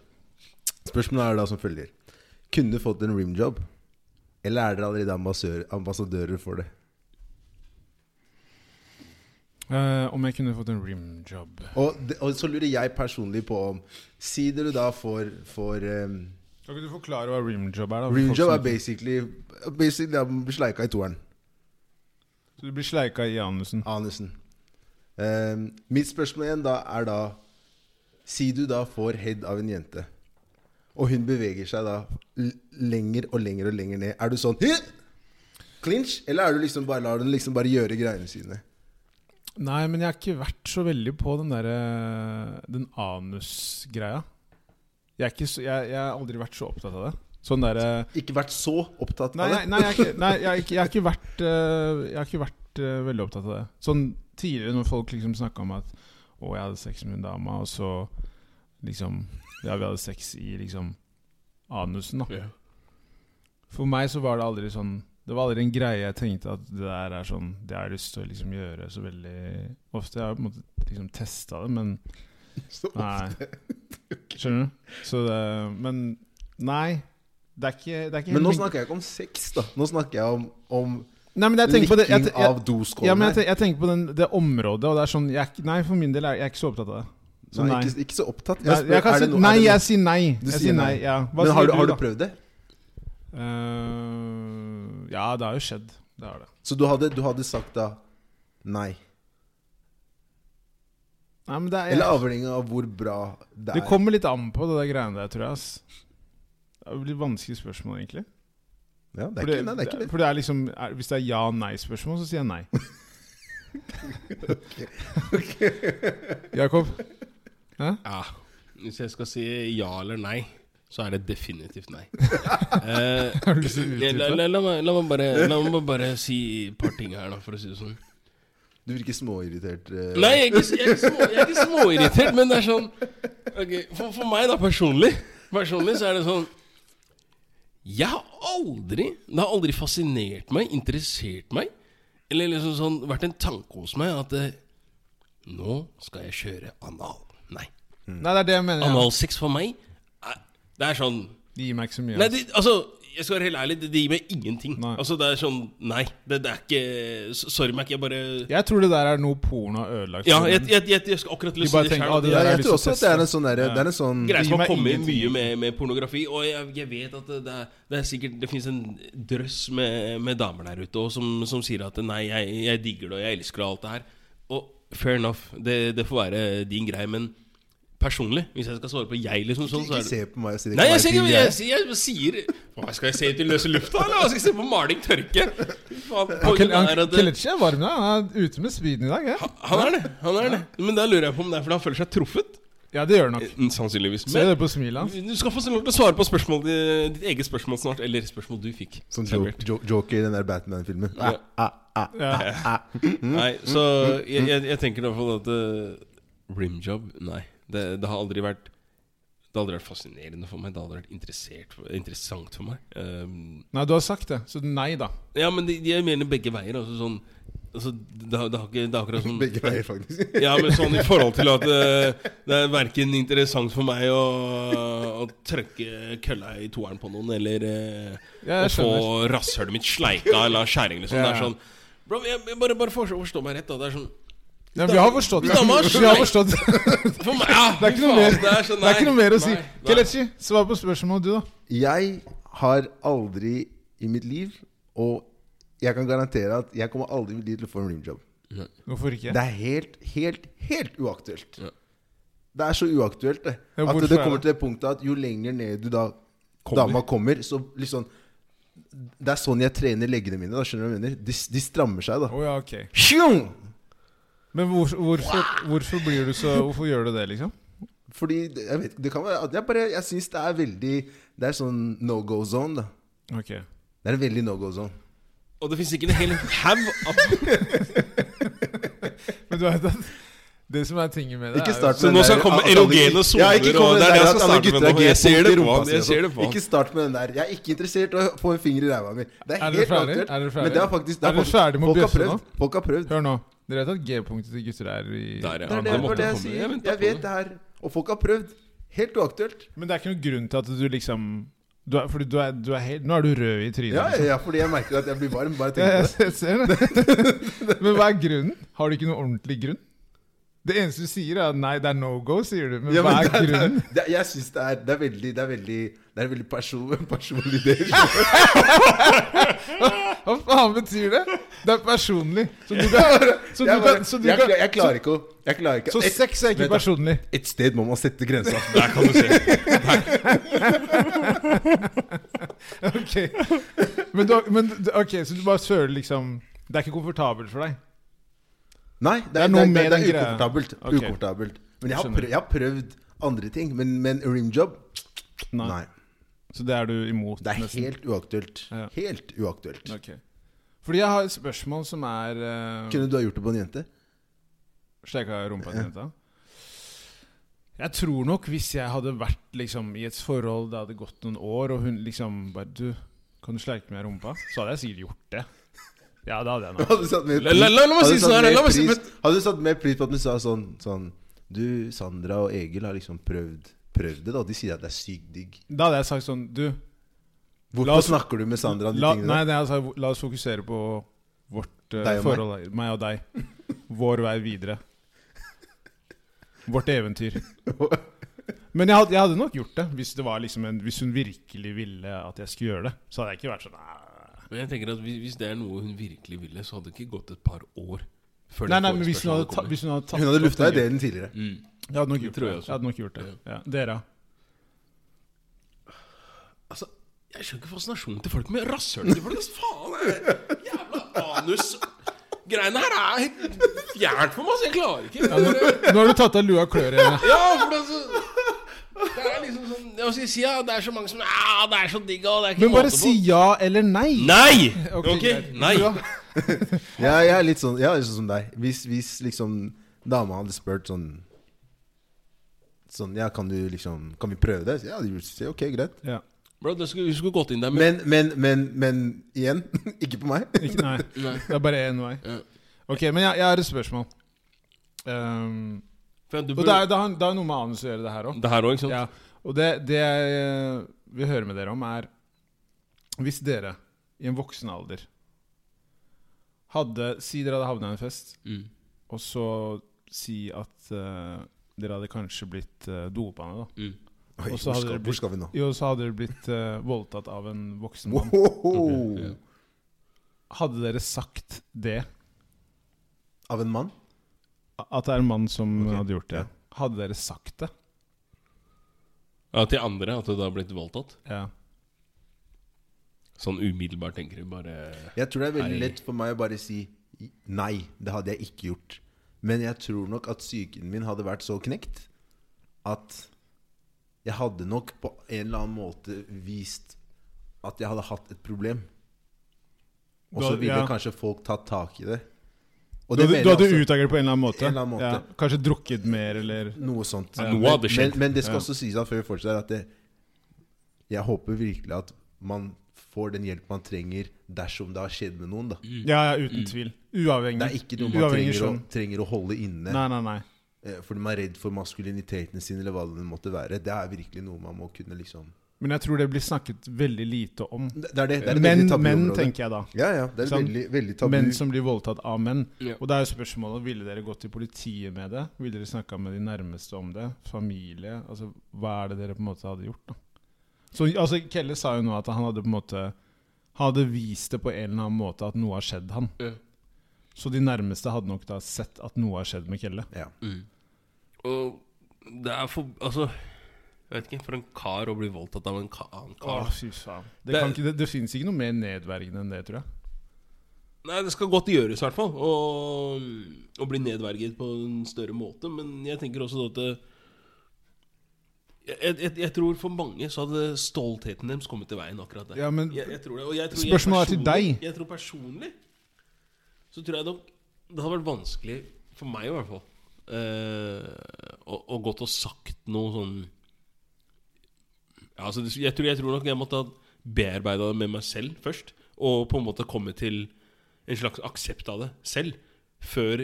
[SPEAKER 1] Spørsmålet er da som følger. Kunne du fått en rimjob? Eller er dere allerede ambassadører, ambassadører for det?
[SPEAKER 3] Eh, om jeg kunne fått en rimjob
[SPEAKER 1] Og, det- og så lurer jeg personlig på om Si dere da får, får eh,
[SPEAKER 3] Kan ikke du forklare hva rimjob er? da? for folk
[SPEAKER 1] Rimjob
[SPEAKER 3] som
[SPEAKER 1] er
[SPEAKER 3] ikke-
[SPEAKER 1] basically Basically er man blir sleika i toeren.
[SPEAKER 3] Så du blir sleika i anusen.
[SPEAKER 1] Anusen. Um, mitt spørsmål igjen da er da Si du da får head av en jente, og hun beveger seg da l lenger og lenger og lenger ned. Er du sånn «Hæ?» Clinch? Eller er du liksom bare, lar du den liksom bare gjøre greiene sine?
[SPEAKER 3] Nei, men jeg har ikke vært så veldig på den derre Den anusgreia. Jeg, er ikke så- jeg, jeg har aldri vært så opptatt av det. Sånn derre
[SPEAKER 1] Ikke vært så opptatt
[SPEAKER 3] Nei,
[SPEAKER 1] av det?
[SPEAKER 3] nei, nei, jeg, har ikke- nei jeg, har ikke- jeg har ikke vært, eh, jeg har ikke vært eh, veldig opptatt av det. Sånn tidligere når folk liksom snakka om at Å, jeg hadde sex med en dame, og så liksom Ja, vi hadde sex i liksom anusen, da.
[SPEAKER 2] Ja.
[SPEAKER 3] For meg så var det aldri sånn Det var aldri en greie jeg tenkte at det der er sånn Det har jeg lyst til å liksom gjøre så veldig ofte. Jeg har på en måte liksom testa det, men
[SPEAKER 1] Så
[SPEAKER 3] Nei. Skjønner du? Så det Men nei. Det er ikke, det er ikke
[SPEAKER 1] Men nå
[SPEAKER 3] helt min-
[SPEAKER 1] snakker jeg ikke om sex, da. Nå snakker jeg om, om
[SPEAKER 3] Nei, men jeg tenker på det jeg,
[SPEAKER 1] likking
[SPEAKER 3] jeg,
[SPEAKER 1] av doskålen.
[SPEAKER 3] Ja, men jeg,
[SPEAKER 1] her.
[SPEAKER 3] ten- jeg tenker på den, det området, og det er sånn jeg, er ikke- Nei, for min del er jeg er ikke så opptatt av det. Så nei.
[SPEAKER 1] nei, ikke, ikke så opptatt.
[SPEAKER 3] Jeg,
[SPEAKER 1] spør,
[SPEAKER 3] jeg
[SPEAKER 1] er
[SPEAKER 3] kan si
[SPEAKER 1] det noe- er
[SPEAKER 3] nei,
[SPEAKER 1] det noe-
[SPEAKER 3] jeg sier nei.
[SPEAKER 1] Du
[SPEAKER 3] jeg
[SPEAKER 1] sier
[SPEAKER 3] sier
[SPEAKER 1] nei.
[SPEAKER 3] nei, ja. Hva
[SPEAKER 1] Men
[SPEAKER 3] sier
[SPEAKER 1] har du,
[SPEAKER 3] du,
[SPEAKER 1] har du
[SPEAKER 3] da?
[SPEAKER 1] prøvd det?
[SPEAKER 3] Eh, ja, det har jo skjedd. Det har det.
[SPEAKER 1] Så du hadde, du hadde sagt da nei?
[SPEAKER 3] Nei, men det, er,
[SPEAKER 1] Eller avhengig av hvor bra det er.
[SPEAKER 3] det kommer litt an på det der greiene der, tror jeg. Ass. Det er jo litt vanskelig spørsmål, egentlig.
[SPEAKER 1] ja, det
[SPEAKER 3] For
[SPEAKER 1] er ikke, nei, det er ikke det.
[SPEAKER 3] For det er liksom, er, hvis det er ja-nei-spørsmål, så sier jeg nei. Jakob?
[SPEAKER 2] Ja. Hvis jeg skal si ja eller nei, så er det definitivt nei. Eh,
[SPEAKER 3] Har du lyst til å utdype?
[SPEAKER 2] la, la, la, meg, la, meg bare, la meg bare si et par ting her, da, for å si det sånn.
[SPEAKER 1] Du virker småirritert. eh.
[SPEAKER 2] Nei, jeg er ikke, jeg er ikke, små, jeg er ikke småirritert, men det er sånn ok, for, for meg, da, personlig, personlig, så er det sånn Jeg har aldri Det har aldri fascinert meg, interessert meg, eller liksom sånn vært en tanke hos meg at eh, Nå skal jeg kjøre anal. Nei.
[SPEAKER 3] Nei, det er det jeg mener. Ja.
[SPEAKER 2] Analsex for meg er- Det er sånn
[SPEAKER 3] Det gir meg ikke så mye.
[SPEAKER 2] Nei, det, altså jeg skal være helt ærlig, det, det gir meg ingenting.
[SPEAKER 3] Nei.
[SPEAKER 2] Altså Det er sånn Nei, det, det er ikke s- Sorry, Mac, jeg bare
[SPEAKER 3] Jeg tror det der er noe porno har ødelagt.
[SPEAKER 2] Ja,
[SPEAKER 3] for
[SPEAKER 2] jeg,
[SPEAKER 3] menn.
[SPEAKER 2] jeg, jeg, jeg skal akkurat
[SPEAKER 3] bare
[SPEAKER 2] lyst det
[SPEAKER 3] tenker,
[SPEAKER 2] selv,
[SPEAKER 3] «Å,
[SPEAKER 2] det
[SPEAKER 3] det
[SPEAKER 1] Ja,
[SPEAKER 2] er
[SPEAKER 3] der har jeg
[SPEAKER 1] jeg
[SPEAKER 3] lyst
[SPEAKER 1] tror
[SPEAKER 3] til
[SPEAKER 1] også
[SPEAKER 3] å
[SPEAKER 1] at det er en
[SPEAKER 3] teste.
[SPEAKER 1] sånn derre Det er en sånn
[SPEAKER 2] Greit
[SPEAKER 3] gir
[SPEAKER 2] man
[SPEAKER 3] meg
[SPEAKER 2] kommer
[SPEAKER 3] ingenting.
[SPEAKER 2] mye med, med pornografi, og jeg, jeg vet at det, det, er, det er sikkert Det finnes en drøss med, med damer der ute og som, som sier at nei, jeg, jeg digger det, og jeg elsker det, og alt det her. Og fair enough, det, det får være din greie, men personlig, hvis jeg skal svare på jeg, liksom sånn, så
[SPEAKER 1] Ikke
[SPEAKER 2] er det
[SPEAKER 1] se på meg og si det
[SPEAKER 2] Nei, jeg
[SPEAKER 1] kan
[SPEAKER 2] sier,
[SPEAKER 1] være
[SPEAKER 2] jeg,
[SPEAKER 1] din
[SPEAKER 2] jeg,
[SPEAKER 1] greie.
[SPEAKER 2] sier, jeg sier Hva Skal jeg se ut i løse lufta, eller hva skal jeg se på maling tørke? Faen,
[SPEAKER 3] Han
[SPEAKER 2] poenget
[SPEAKER 3] Kel- han-
[SPEAKER 2] er at-
[SPEAKER 3] Kelechi er varm nå. Han er ute med speeden i dag. Ja,
[SPEAKER 2] Han er det. han er det Men da lurer jeg på om det er fordi han føler seg truffet.
[SPEAKER 3] ja det gjør han nok.
[SPEAKER 2] Eh, Sannsynligvis.
[SPEAKER 3] Se
[SPEAKER 2] Men
[SPEAKER 3] det på smilet hans.
[SPEAKER 2] du skal få lov til å svare på spørsmål, eh, ditt eget spørsmål snart. Eller spørsmål du fikk.
[SPEAKER 1] Som Sånn jo,
[SPEAKER 2] servert.
[SPEAKER 1] jo, Joker i den der Batman-filmen.
[SPEAKER 2] Ja.
[SPEAKER 1] Ah, ah, ah.
[SPEAKER 3] Ja.
[SPEAKER 1] Mm.
[SPEAKER 2] Nei, så jeg, jeg, jeg tenker i hvert fall at eh, Rimjob Nei. Det, det har aldri vært Det har aldri vært fascinerende for meg. Det har aldri vært interessert, for- interessant for meg. Um,
[SPEAKER 3] Nei, du har sagt det, så nei da.
[SPEAKER 2] Ja, men de- de- jeg mener begge veier. Altså sånn altså, det, har- det, har ikke, det er akkurat som
[SPEAKER 1] Begge veier, faktisk.
[SPEAKER 2] Ja, men sånn i forhold til at eh, det er verken interessant for meg å, å trøkke kølla i toeren på noen, eller eh,
[SPEAKER 3] Ja,
[SPEAKER 2] å
[SPEAKER 3] jeg
[SPEAKER 2] få
[SPEAKER 3] skjønner.
[SPEAKER 2] rasshølet mitt sleika eller skjæring, liksom. Det
[SPEAKER 3] Ja.
[SPEAKER 2] er sånn Bro, jeg, jeg bare, bare forstå, forstå meg rett, da. Det er sånn
[SPEAKER 3] Ja, vi har forstått.
[SPEAKER 2] Hvis dama har
[SPEAKER 3] Vi har
[SPEAKER 2] sleik-
[SPEAKER 3] forstått. Det
[SPEAKER 2] For meg, ja!
[SPEAKER 3] er ikke noe
[SPEAKER 2] faen,
[SPEAKER 3] mer,
[SPEAKER 2] det er sånn,
[SPEAKER 3] det er ikke noe mer å si.
[SPEAKER 2] nei, nei.
[SPEAKER 3] Kelechi, svar på spørsmålet du, da.
[SPEAKER 1] Jeg har aldri i mitt liv Og jeg kan garantere at jeg kommer aldri i mitt liv til å få en rimjob.
[SPEAKER 3] Hvorfor ikke?
[SPEAKER 1] Det er helt, helt, helt uaktuelt.
[SPEAKER 2] Ja.
[SPEAKER 1] Det er så uaktuelt, det.
[SPEAKER 3] Ja,
[SPEAKER 1] At
[SPEAKER 3] hvorfor
[SPEAKER 1] det
[SPEAKER 3] er
[SPEAKER 1] kommer
[SPEAKER 3] det?
[SPEAKER 1] til det punktet at jo lenger ned du da
[SPEAKER 2] Kommer.
[SPEAKER 1] dama kommer, så liksom Det er sånn jeg trener leggene mine. da, skjønner du hva jeg mener? De, de strammer seg, da.
[SPEAKER 3] Å ja, ok.
[SPEAKER 1] Tjong!
[SPEAKER 3] Men hvor, hvorfor, hvorfor blir du så Hvorfor gjør du det, liksom?
[SPEAKER 1] Fordi det- jeg vet, det kan være at Jeg bare, jeg syns det er veldig Det er sånn no go zone, da.
[SPEAKER 3] Ok
[SPEAKER 1] Det er en veldig no go zone.
[SPEAKER 2] Og det fins ikke en hel haug av
[SPEAKER 3] Men du vet at det som er tingen med det
[SPEAKER 1] Ikke
[SPEAKER 3] er jo-
[SPEAKER 1] start
[SPEAKER 2] Så
[SPEAKER 1] med
[SPEAKER 2] nå
[SPEAKER 1] den
[SPEAKER 2] skal
[SPEAKER 1] der-
[SPEAKER 2] komme
[SPEAKER 1] at alle-
[SPEAKER 2] erogene soner,
[SPEAKER 1] Ja, ikke
[SPEAKER 2] og
[SPEAKER 1] kom med
[SPEAKER 2] det er
[SPEAKER 1] den der
[SPEAKER 2] det jeg skal
[SPEAKER 1] at alle
[SPEAKER 2] starte med
[SPEAKER 1] gutter
[SPEAKER 2] nå.
[SPEAKER 1] er
[SPEAKER 2] Jeg ser
[SPEAKER 1] gay,
[SPEAKER 2] det
[SPEAKER 1] punkt i
[SPEAKER 2] på
[SPEAKER 1] rumpa
[SPEAKER 2] han, jeg
[SPEAKER 1] si og
[SPEAKER 2] ser det
[SPEAKER 1] sånn.
[SPEAKER 2] på han.
[SPEAKER 1] Ikke start med den der. Jeg er ikke interessert i å få en finger i ræva mi. Det er,
[SPEAKER 3] Er dere
[SPEAKER 1] helt
[SPEAKER 3] ferdig?
[SPEAKER 1] aktuelt.
[SPEAKER 3] Er dere ferdig?
[SPEAKER 1] Men det er faktisk det
[SPEAKER 3] Er dere
[SPEAKER 1] folk-
[SPEAKER 3] ferdig med å
[SPEAKER 1] folk har
[SPEAKER 3] bjøsse
[SPEAKER 1] prøvd. Folk har prøvd.
[SPEAKER 3] Hør nå. Dere vet at G-punktet til gutter er i
[SPEAKER 2] Der, ja.
[SPEAKER 1] Det er det, det,
[SPEAKER 2] det
[SPEAKER 1] var
[SPEAKER 2] måtte
[SPEAKER 1] det jeg
[SPEAKER 2] komme.
[SPEAKER 1] sier.
[SPEAKER 2] Jeg
[SPEAKER 1] Jeg,
[SPEAKER 2] ventet på
[SPEAKER 1] vet
[SPEAKER 2] det.
[SPEAKER 1] det her. Og folk har prøvd. Helt uaktuelt.
[SPEAKER 3] Men det er ikke noen grunn til at du liksom du er, Fordi du er, du er helt Nå er du rød i trynet.
[SPEAKER 1] Ja,
[SPEAKER 3] liksom.
[SPEAKER 1] ja, fordi jeg merker at jeg blir varm. Bare
[SPEAKER 3] Ja,
[SPEAKER 1] tenker på det.
[SPEAKER 3] jeg, jeg ser det. Men hva er grunnen? Har du ikke noen ordentlig grunn? Det eneste du sier, er at nei, det er no go, sier du. Men
[SPEAKER 1] Ja, men
[SPEAKER 3] hva er
[SPEAKER 1] det er- det er-
[SPEAKER 3] grunnen?
[SPEAKER 1] det er- Jeg syns det er Det er veldig Det er veldig, det er veldig person, personlig del.
[SPEAKER 3] Hva faen betyr det? Det er personlig. Så du kan, så du
[SPEAKER 1] Jeg, bare,
[SPEAKER 3] kan, så du
[SPEAKER 1] jeg,
[SPEAKER 3] kan
[SPEAKER 1] jeg klarer ikke å Jeg klarer ikke
[SPEAKER 3] Så
[SPEAKER 1] et,
[SPEAKER 3] sex er ikke
[SPEAKER 1] Vent da.
[SPEAKER 3] personlig.
[SPEAKER 1] et sted må man sette grensa.
[SPEAKER 2] Der kan du se.
[SPEAKER 3] Ok. Men, du, men du- ok, så du bare føler liksom Det er ikke komfortabelt for deg?
[SPEAKER 1] Nei, det er,
[SPEAKER 3] Det er
[SPEAKER 1] det
[SPEAKER 3] noe
[SPEAKER 1] er, det
[SPEAKER 3] med
[SPEAKER 1] er,
[SPEAKER 3] den greia.
[SPEAKER 1] ukomfortabelt.
[SPEAKER 3] Ok.
[SPEAKER 1] ukomfortabelt. Men jeg har,
[SPEAKER 3] Skjønner.
[SPEAKER 1] prøvd, jeg har prøvd andre ting. Men, men rimjob? Nei.
[SPEAKER 3] Så det er du imot?
[SPEAKER 1] Det er
[SPEAKER 3] nesten.
[SPEAKER 1] helt uaktuelt.
[SPEAKER 3] Ja.
[SPEAKER 1] Helt uaktuelt.
[SPEAKER 3] Ok. Fordi jeg har et spørsmål som er uh,
[SPEAKER 1] Kunne du ha gjort det på en jente?
[SPEAKER 3] Sjekka rumpa til jenta? Jeg tror nok hvis jeg hadde vært liksom, i et forhold det hadde gått noen år, og hun liksom bare Du, kan du sleike meg i rumpa? Så hadde jeg sikkert gjort det. Ja, det hadde jeg nok.
[SPEAKER 1] Hadde du satt mer
[SPEAKER 2] La- la- la- la meg
[SPEAKER 1] hadde
[SPEAKER 2] si
[SPEAKER 1] du satt
[SPEAKER 2] sånn her,
[SPEAKER 1] mer
[SPEAKER 2] la meg si-
[SPEAKER 1] pris, Hadde du satt mer pris på at du sa sånn, sånn Du, Sandra og Egil har liksom prøvd Prøvd det, da. De sier at det er sykt digg.
[SPEAKER 3] Da hadde jeg sagt sånn Du, La
[SPEAKER 1] Hvorfor
[SPEAKER 3] oss-
[SPEAKER 1] snakker du med Sandra om de
[SPEAKER 3] la, nei,
[SPEAKER 1] tingene?
[SPEAKER 3] det jeg sa, la oss fokusere på vårt eh,
[SPEAKER 1] Deg og meg.
[SPEAKER 3] forhold, meg. og deg. Vår vei videre. Vårt eventyr. Men jeg hadde, jeg hadde nok gjort det, hvis, det var liksom en, hvis hun virkelig ville at jeg skulle gjøre det. Så hadde jeg ikke vært sånn "Nei."
[SPEAKER 2] Men jeg tenker at hvis, hvis det er noe hun virkelig ville, så hadde det ikke gått et par år før
[SPEAKER 3] Nei,
[SPEAKER 2] det
[SPEAKER 3] nei, men hvis hun hadde,
[SPEAKER 2] forespørselen
[SPEAKER 3] ta, hvis hun hadde tatt
[SPEAKER 1] Hun hadde
[SPEAKER 3] opp
[SPEAKER 1] lufta
[SPEAKER 3] den-
[SPEAKER 1] ideen tidligere.
[SPEAKER 2] Mm.
[SPEAKER 3] Jeg hadde nok
[SPEAKER 2] Det
[SPEAKER 3] gjort
[SPEAKER 2] tror
[SPEAKER 3] det.
[SPEAKER 2] jeg også.
[SPEAKER 3] Jeg hadde nok gjort det. Ja. Dere?
[SPEAKER 2] Altså, jeg skjønner ikke fascinasjonen til folk med rasshøl til folk. ass. Faen, det jævla anus Greiene her er helt fjernt for meg, så jeg klarer ikke.
[SPEAKER 3] Ja, nå, nå har du tatt av lua og klør igjen.
[SPEAKER 2] Ja, for det, er så, det er liksom sånn Jeg skal si ja, det er så mange som Ja, det er så digg, og det er ikke
[SPEAKER 3] Men bare
[SPEAKER 2] måte på.
[SPEAKER 3] si ja eller nei.
[SPEAKER 2] Nei!
[SPEAKER 3] Ok,
[SPEAKER 2] Ok,
[SPEAKER 3] greit.
[SPEAKER 2] nei.
[SPEAKER 3] Ja.
[SPEAKER 1] Ja, jeg er litt sånn, jeg er litt sånn som deg. Hvis, hvis liksom dama hadde spurt sånn Sånn, ja, kan du liksom Kan vi prøve det? Så Ja, de sier ok, greit.
[SPEAKER 3] Ja.
[SPEAKER 2] Bro, du skulle, du skulle gått inn der med
[SPEAKER 1] Men, men, men, men igjen, ikke på meg.
[SPEAKER 3] Ikke nei.
[SPEAKER 2] Nei.
[SPEAKER 3] Det er bare én vei.
[SPEAKER 2] Ja.
[SPEAKER 3] Ok, men jeg, jeg har et spørsmål. Ehm,
[SPEAKER 2] For du
[SPEAKER 3] og
[SPEAKER 2] bør,
[SPEAKER 3] det er, det, har, det har noe med anus å gjøre, det her òg.
[SPEAKER 2] det her òg, ikke sant?
[SPEAKER 3] Ja, og det, det jeg eh, vil høre med dere om, er Hvis dere i en voksen alder hadde Si dere hadde havna i en fest,
[SPEAKER 2] Mm.
[SPEAKER 3] og så si at eh, dere hadde kanskje blitt eh, dopa ned, da.
[SPEAKER 2] Mm.
[SPEAKER 1] Oi,
[SPEAKER 3] Og
[SPEAKER 1] hvor
[SPEAKER 3] så hadde
[SPEAKER 1] skal,
[SPEAKER 3] det blitt-
[SPEAKER 1] hvor skal vi nå?
[SPEAKER 3] Jo, så hadde dere blitt eh, voldtatt av en voksen mann. Oh.
[SPEAKER 1] Wow.
[SPEAKER 2] Ok, ja.
[SPEAKER 3] Hadde dere sagt det?
[SPEAKER 1] Av en mann?
[SPEAKER 3] At det er en mann som
[SPEAKER 1] Ok,
[SPEAKER 3] hadde gjort det?
[SPEAKER 1] ja.
[SPEAKER 3] Hadde dere sagt det?
[SPEAKER 2] Ja, til andre at du da har blitt voldtatt?
[SPEAKER 3] Ja.
[SPEAKER 2] Sånn umiddelbart tenker du bare
[SPEAKER 1] Jeg tror det er veldig
[SPEAKER 2] Nei.
[SPEAKER 1] lett for meg å bare si nei, det hadde jeg ikke gjort. Men jeg tror nok at psyken min hadde vært så knekt at jeg hadde nok på en eller annen måte vist at jeg hadde hatt et problem. Og så
[SPEAKER 3] Du hadde-
[SPEAKER 1] ville
[SPEAKER 3] ja.
[SPEAKER 1] kanskje folk tatt tak i det. Og
[SPEAKER 3] Du,
[SPEAKER 1] det mener
[SPEAKER 3] hadde- du
[SPEAKER 1] jeg
[SPEAKER 3] hadde
[SPEAKER 1] også.
[SPEAKER 3] utagert på en eller annen måte?
[SPEAKER 1] En eller annen måte.
[SPEAKER 3] Ja. Kanskje drukket mer, eller
[SPEAKER 1] Noe sånt.
[SPEAKER 2] Ja,
[SPEAKER 1] Men-
[SPEAKER 2] noe hadde skjedd.
[SPEAKER 1] Men, men det skal
[SPEAKER 3] Ja.
[SPEAKER 1] også sies da, før vi fortsetter, at det, jeg håper virkelig at man får den hjelp man trenger dersom det har skjedd med noen. da
[SPEAKER 2] Mm.
[SPEAKER 3] Ja, ja, uten tvil. Uavhengig.
[SPEAKER 1] Mm. Det er ikke noe man
[SPEAKER 3] Mm. Uavhengig
[SPEAKER 1] trenger å,
[SPEAKER 3] skjønn.
[SPEAKER 1] trenger å holde inne
[SPEAKER 3] Nei, nei, nei.
[SPEAKER 1] eh, fordi man er redd for maskuliniteten sin, eller hva det måtte være. Det er virkelig noe man må kunne liksom
[SPEAKER 3] Men jeg tror det blir snakket veldig lite om.
[SPEAKER 1] Det det er det. det, er et
[SPEAKER 3] menn,
[SPEAKER 1] veldig tabu
[SPEAKER 3] menn,
[SPEAKER 1] område.
[SPEAKER 3] tenker jeg da.
[SPEAKER 1] Ja, ja. Det er et
[SPEAKER 3] Sant?
[SPEAKER 1] veldig, veldig tabu.
[SPEAKER 3] Menn som blir voldtatt av menn.
[SPEAKER 2] Ja.
[SPEAKER 3] Og da er jo spørsmålet ville dere gått til politiet med det? Ville dere snakka med de nærmeste om det? Familie? Altså, Hva er det dere på en måte hadde gjort? da? Så, altså, Kelle sa jo nå at han hadde på en måte Han hadde vist det på en eller annen måte at noe har skjedd han.
[SPEAKER 2] Ja.
[SPEAKER 3] Så de nærmeste hadde nok da sett at noe har skjedd med Kelle.
[SPEAKER 1] ja.
[SPEAKER 2] Og det er for Altså, jeg vet ikke, for en kar å bli voldtatt av en ka annen
[SPEAKER 3] Åh,
[SPEAKER 2] kar
[SPEAKER 3] fy faen. Det,
[SPEAKER 2] Det-
[SPEAKER 3] kan ikke, det, det finnes ikke noe mer nedverdigende enn det, tror jeg.
[SPEAKER 2] Nei, det skal godt gjøres, i hvert fall. Å å bli nedverget på en større måte. Men jeg tenker også at det, jeg, jeg, jeg tror for mange så hadde stoltheten deres kommet til veien akkurat der.
[SPEAKER 3] Ja, men
[SPEAKER 2] jeg, jeg tror det, og jeg tror
[SPEAKER 3] spørsmålet er
[SPEAKER 2] jeg
[SPEAKER 3] til
[SPEAKER 2] personlig-
[SPEAKER 3] deg.
[SPEAKER 2] Jeg tror personlig så tror jeg nok det hadde vært vanskelig, for meg i hvert fall, eh, å, å gått og sagt noe sånn ja, altså, det- jeg, tror, jeg tror nok jeg måtte ha bearbeida det med meg selv først. Og på en måte komme til en slags aksept av det selv. Før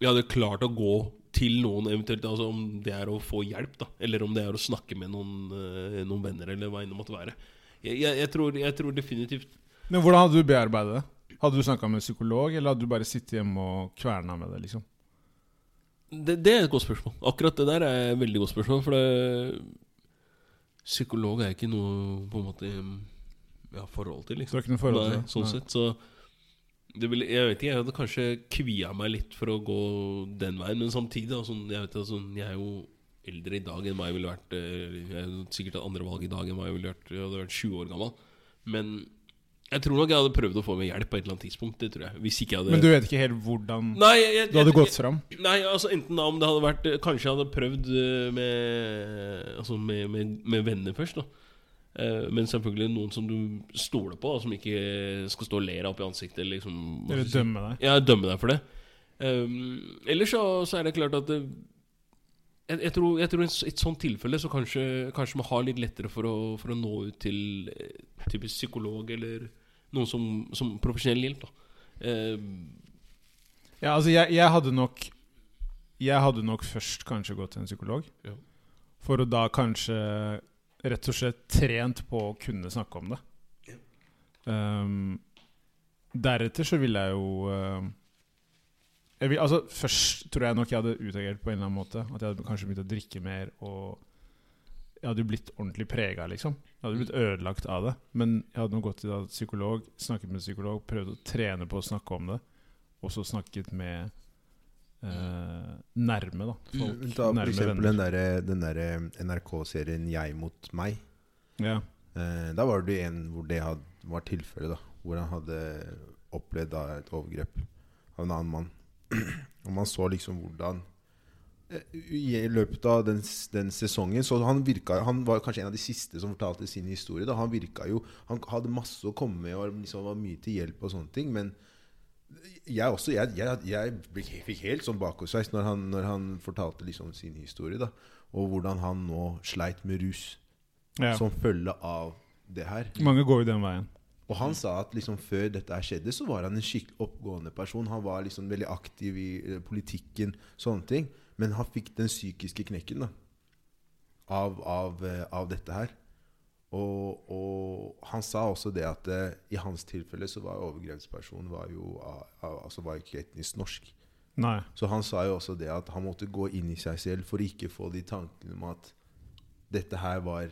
[SPEAKER 2] jeg hadde klart å gå til noen eventuelt, altså om det er å få hjelp, da. Eller om det er å snakke med noen, eh, noen venner, eller hva enn det måtte være. Jeg, jeg, jeg, tror, jeg tror definitivt
[SPEAKER 3] Men hvordan hadde du bearbeidet det? Hadde du snakka med en psykolog, eller hadde du bare sittet hjemme og kverna med det? liksom?
[SPEAKER 2] det, det er et godt spørsmål. Akkurat det der er et veldig godt spørsmål. For det, psykolog er ikke noe på en måte jeg har forhold til. liksom.
[SPEAKER 3] Så det var ikke noe forhold til
[SPEAKER 2] Nei,
[SPEAKER 3] det?
[SPEAKER 2] sånn
[SPEAKER 3] Nei.
[SPEAKER 2] sett, så det ville, Jeg vet ikke, jeg hadde kanskje kvia meg litt for å gå den veien, men samtidig altså, jeg, vet, altså, jeg er jo eldre i dag enn meg ville vært eh, Jeg er jo sikkert hatt andre valg i dag enn meg ville vært Jeg hadde vært 20 år gammel. Men jeg tror nok jeg hadde prøvd å få meg hjelp på et eller annet tidspunkt. Det tror jeg. Hvis ikke jeg hadde
[SPEAKER 3] Men du vet ikke helt hvordan
[SPEAKER 2] Nei, jeg, jeg,
[SPEAKER 3] du hadde
[SPEAKER 2] jeg-
[SPEAKER 3] gått fram?
[SPEAKER 2] Nei, altså enten da om det hadde vært Kanskje jeg hadde prøvd eh, med, altså, med, med, med venner først da Eh, Men selvfølgelig noen som du stoler på da, Som ikke skal stå og ler opp i ansiktet Eller liksom hva skal jeg
[SPEAKER 3] Eller
[SPEAKER 2] si?
[SPEAKER 3] dømme deg?
[SPEAKER 2] Ja, dømme deg for det um, Ellers så, så er det klart at det, jeg, jeg tror, jeg tror i et s- et sånt tilfelle Så kanskje, kanskje man har litt lettere for å, for å nå ut til eh, Typisk psykolog eller Noen som, som profesjonell hjelp da Eh,
[SPEAKER 3] Ja, altså, jeg, jeg hadde nok Jeg hadde nok først kanskje gått til en psykolog.
[SPEAKER 2] Ja.
[SPEAKER 3] For å da kanskje rett og slett trent på å kunne snakke om det. Um, deretter så ville jeg jo um, jeg vil, altså, Først tror jeg nok jeg hadde utagert på en eller annen måte. At jeg hadde kanskje begynt å drikke mer. Og jeg hadde jo blitt ordentlig prega, liksom. Jeg hadde blitt ødelagt av det. Men jeg hadde nå gått til da psykolog, snakket med psykolog, prøvd å trene på å snakke om det. Og så snakket med eh, nærme, da. Folk,
[SPEAKER 1] Ta for
[SPEAKER 3] nærme
[SPEAKER 1] eksempel
[SPEAKER 3] venner.
[SPEAKER 1] den derre den derre NRK-serien 'Jeg mot meg'.
[SPEAKER 3] Ja.
[SPEAKER 1] Eh, da var det jo en hvor det had, var tilfellet, da. Hvor han hadde opplevd da, et overgrep av en annen mann. Og man så liksom hvordan eh, I i løpet av den, s- den sesongen Så han virka Han var kanskje en av de siste som fortalte sin historie. Da. Han virka jo Han hadde masse å komme med og liksom var mye til hjelp og sånne ting. Men jeg også Jeg, jeg, jeg ble- fikk helt sånn bakoversveis når, han- når han fortalte liksom sin historie. Da. Og hvordan han nå sleit med rus
[SPEAKER 3] Ja.
[SPEAKER 1] som følge av det her.
[SPEAKER 3] Mange går jo den veien.
[SPEAKER 1] Og han sa at liksom før dette her skjedde, så var han en skikkelig oppgående person. Han var liksom veldig aktiv i eh, politikken, sånne ting. Men han fikk den psykiske knekken da, av, av, eh, av dette her. Og, og han sa også det at eh, i hans tilfelle så var overgrepspersonen var jo, av- av- altså var ikke etnisk norsk.
[SPEAKER 3] Nei.
[SPEAKER 1] Så han sa jo også det at han måtte gå inn i seg selv for å ikke få de tankene om at dette her var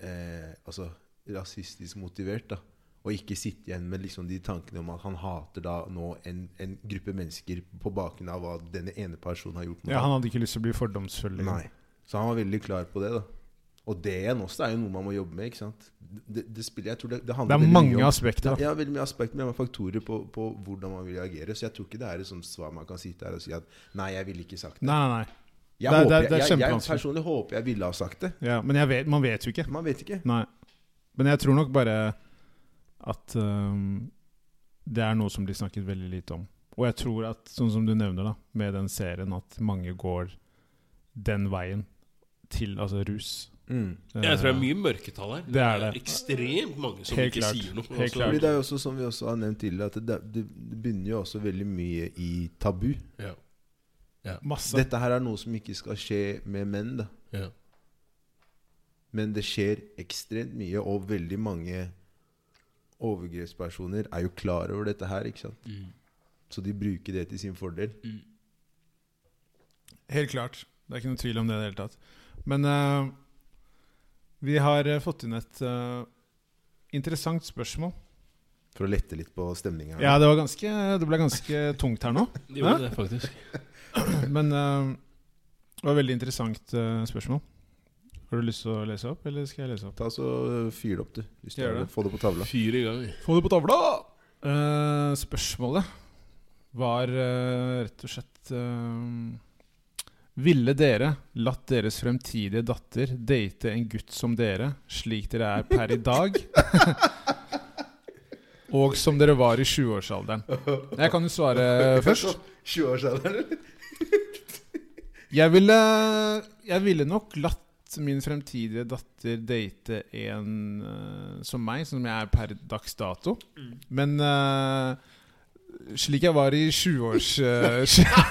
[SPEAKER 1] eh, altså, rasistisk motivert. da. Og ikke sitte igjen med liksom de tankene om at han hater da nå en, en gruppe mennesker på bakgrunn av hva denne ene personen har gjort. mot
[SPEAKER 3] Ja,
[SPEAKER 1] ham.
[SPEAKER 3] han hadde ikke lyst til å bli fordomsfull. liksom.
[SPEAKER 1] Nei. Så han var veldig klar på det. da. Og det igjen også er jo noe man må jobbe med. ikke sant? Det, det spiller, jeg tror det, det
[SPEAKER 3] Det
[SPEAKER 1] handler
[SPEAKER 3] er
[SPEAKER 1] veldig mye
[SPEAKER 3] mange
[SPEAKER 1] om-
[SPEAKER 3] aspekter. da
[SPEAKER 1] ja, veldig mye aspekt, men det er faktorer på, på hvordan man vil reagere. Så jeg tror ikke det er et sånt svar man kan sitte her og si at nei, jeg ville ikke sagt det.
[SPEAKER 3] Nei, nei, nei.
[SPEAKER 1] Jeg,
[SPEAKER 3] det er-
[SPEAKER 1] håper,
[SPEAKER 3] det er
[SPEAKER 1] jeg- jeg, jeg
[SPEAKER 3] kjempevanskelig.
[SPEAKER 1] personlig håper jeg ville ha sagt det.
[SPEAKER 3] Ja, men jeg vet, man vet jo ikke.
[SPEAKER 1] Man vet ikke.
[SPEAKER 3] Nei. Men jeg tror nok bare at øhm, det er noe som blir snakket veldig lite om. Og jeg tror at, sånn som du nevner da, med den serien, at mange går den veien til altså rus.
[SPEAKER 1] Mm.
[SPEAKER 2] Jeg tror det er mye mørketall her.
[SPEAKER 3] Det er det.
[SPEAKER 2] Ekstremt mange som
[SPEAKER 3] Helt
[SPEAKER 2] ikke
[SPEAKER 3] klart.
[SPEAKER 2] sier noe.
[SPEAKER 3] Helt
[SPEAKER 2] altså.
[SPEAKER 3] klart.
[SPEAKER 1] Fordi det er jo også som vi også har nevnt tidligere, at det, det det begynner jo også veldig mye i tabu.
[SPEAKER 2] Ja.
[SPEAKER 3] Masse.
[SPEAKER 1] Dette her er noe som ikke skal skje med menn, da.
[SPEAKER 2] Ja.
[SPEAKER 1] Men det skjer ekstremt mye, og veldig mange overgrepspersoner er jo klar over dette her, ikke sant?
[SPEAKER 2] Mm.
[SPEAKER 1] Så de bruker det til sin fordel.
[SPEAKER 3] Helt klart. Det er ikke noen tvil om det i det hele tatt. Men eh, vi har eh, fått inn et eh, interessant spørsmål.
[SPEAKER 1] For å lette litt på stemninga.
[SPEAKER 3] Ja, det, var ganske, det ble ganske tungt her nå.
[SPEAKER 2] De gjorde det, faktisk.
[SPEAKER 3] Men eh, det var et veldig interessant eh, spørsmål. Har du lyst til å lese opp, eller skal jeg lese opp?
[SPEAKER 1] Ta så eh, Fyr det opp, du. Hvis du
[SPEAKER 3] Gjør
[SPEAKER 1] har
[SPEAKER 3] det.
[SPEAKER 1] det. Få det på tavla.
[SPEAKER 2] Fyr i gang.
[SPEAKER 3] Få det på tavla! Eh, spørsmålet var eh, rett og slett eh, Ville dere latt deres fremtidige datter date en gutt som dere, slik dere er per i dag? Og som dere var i 20-årsalderen. Jeg kan jo svare først.
[SPEAKER 1] 20-årsalderen, eller?
[SPEAKER 3] Jeg ville, jeg ville nok latt min fremtidige datter date en eh, som meg, som jeg er per dags dato. Men eh, slik jeg var i 20-års, eh,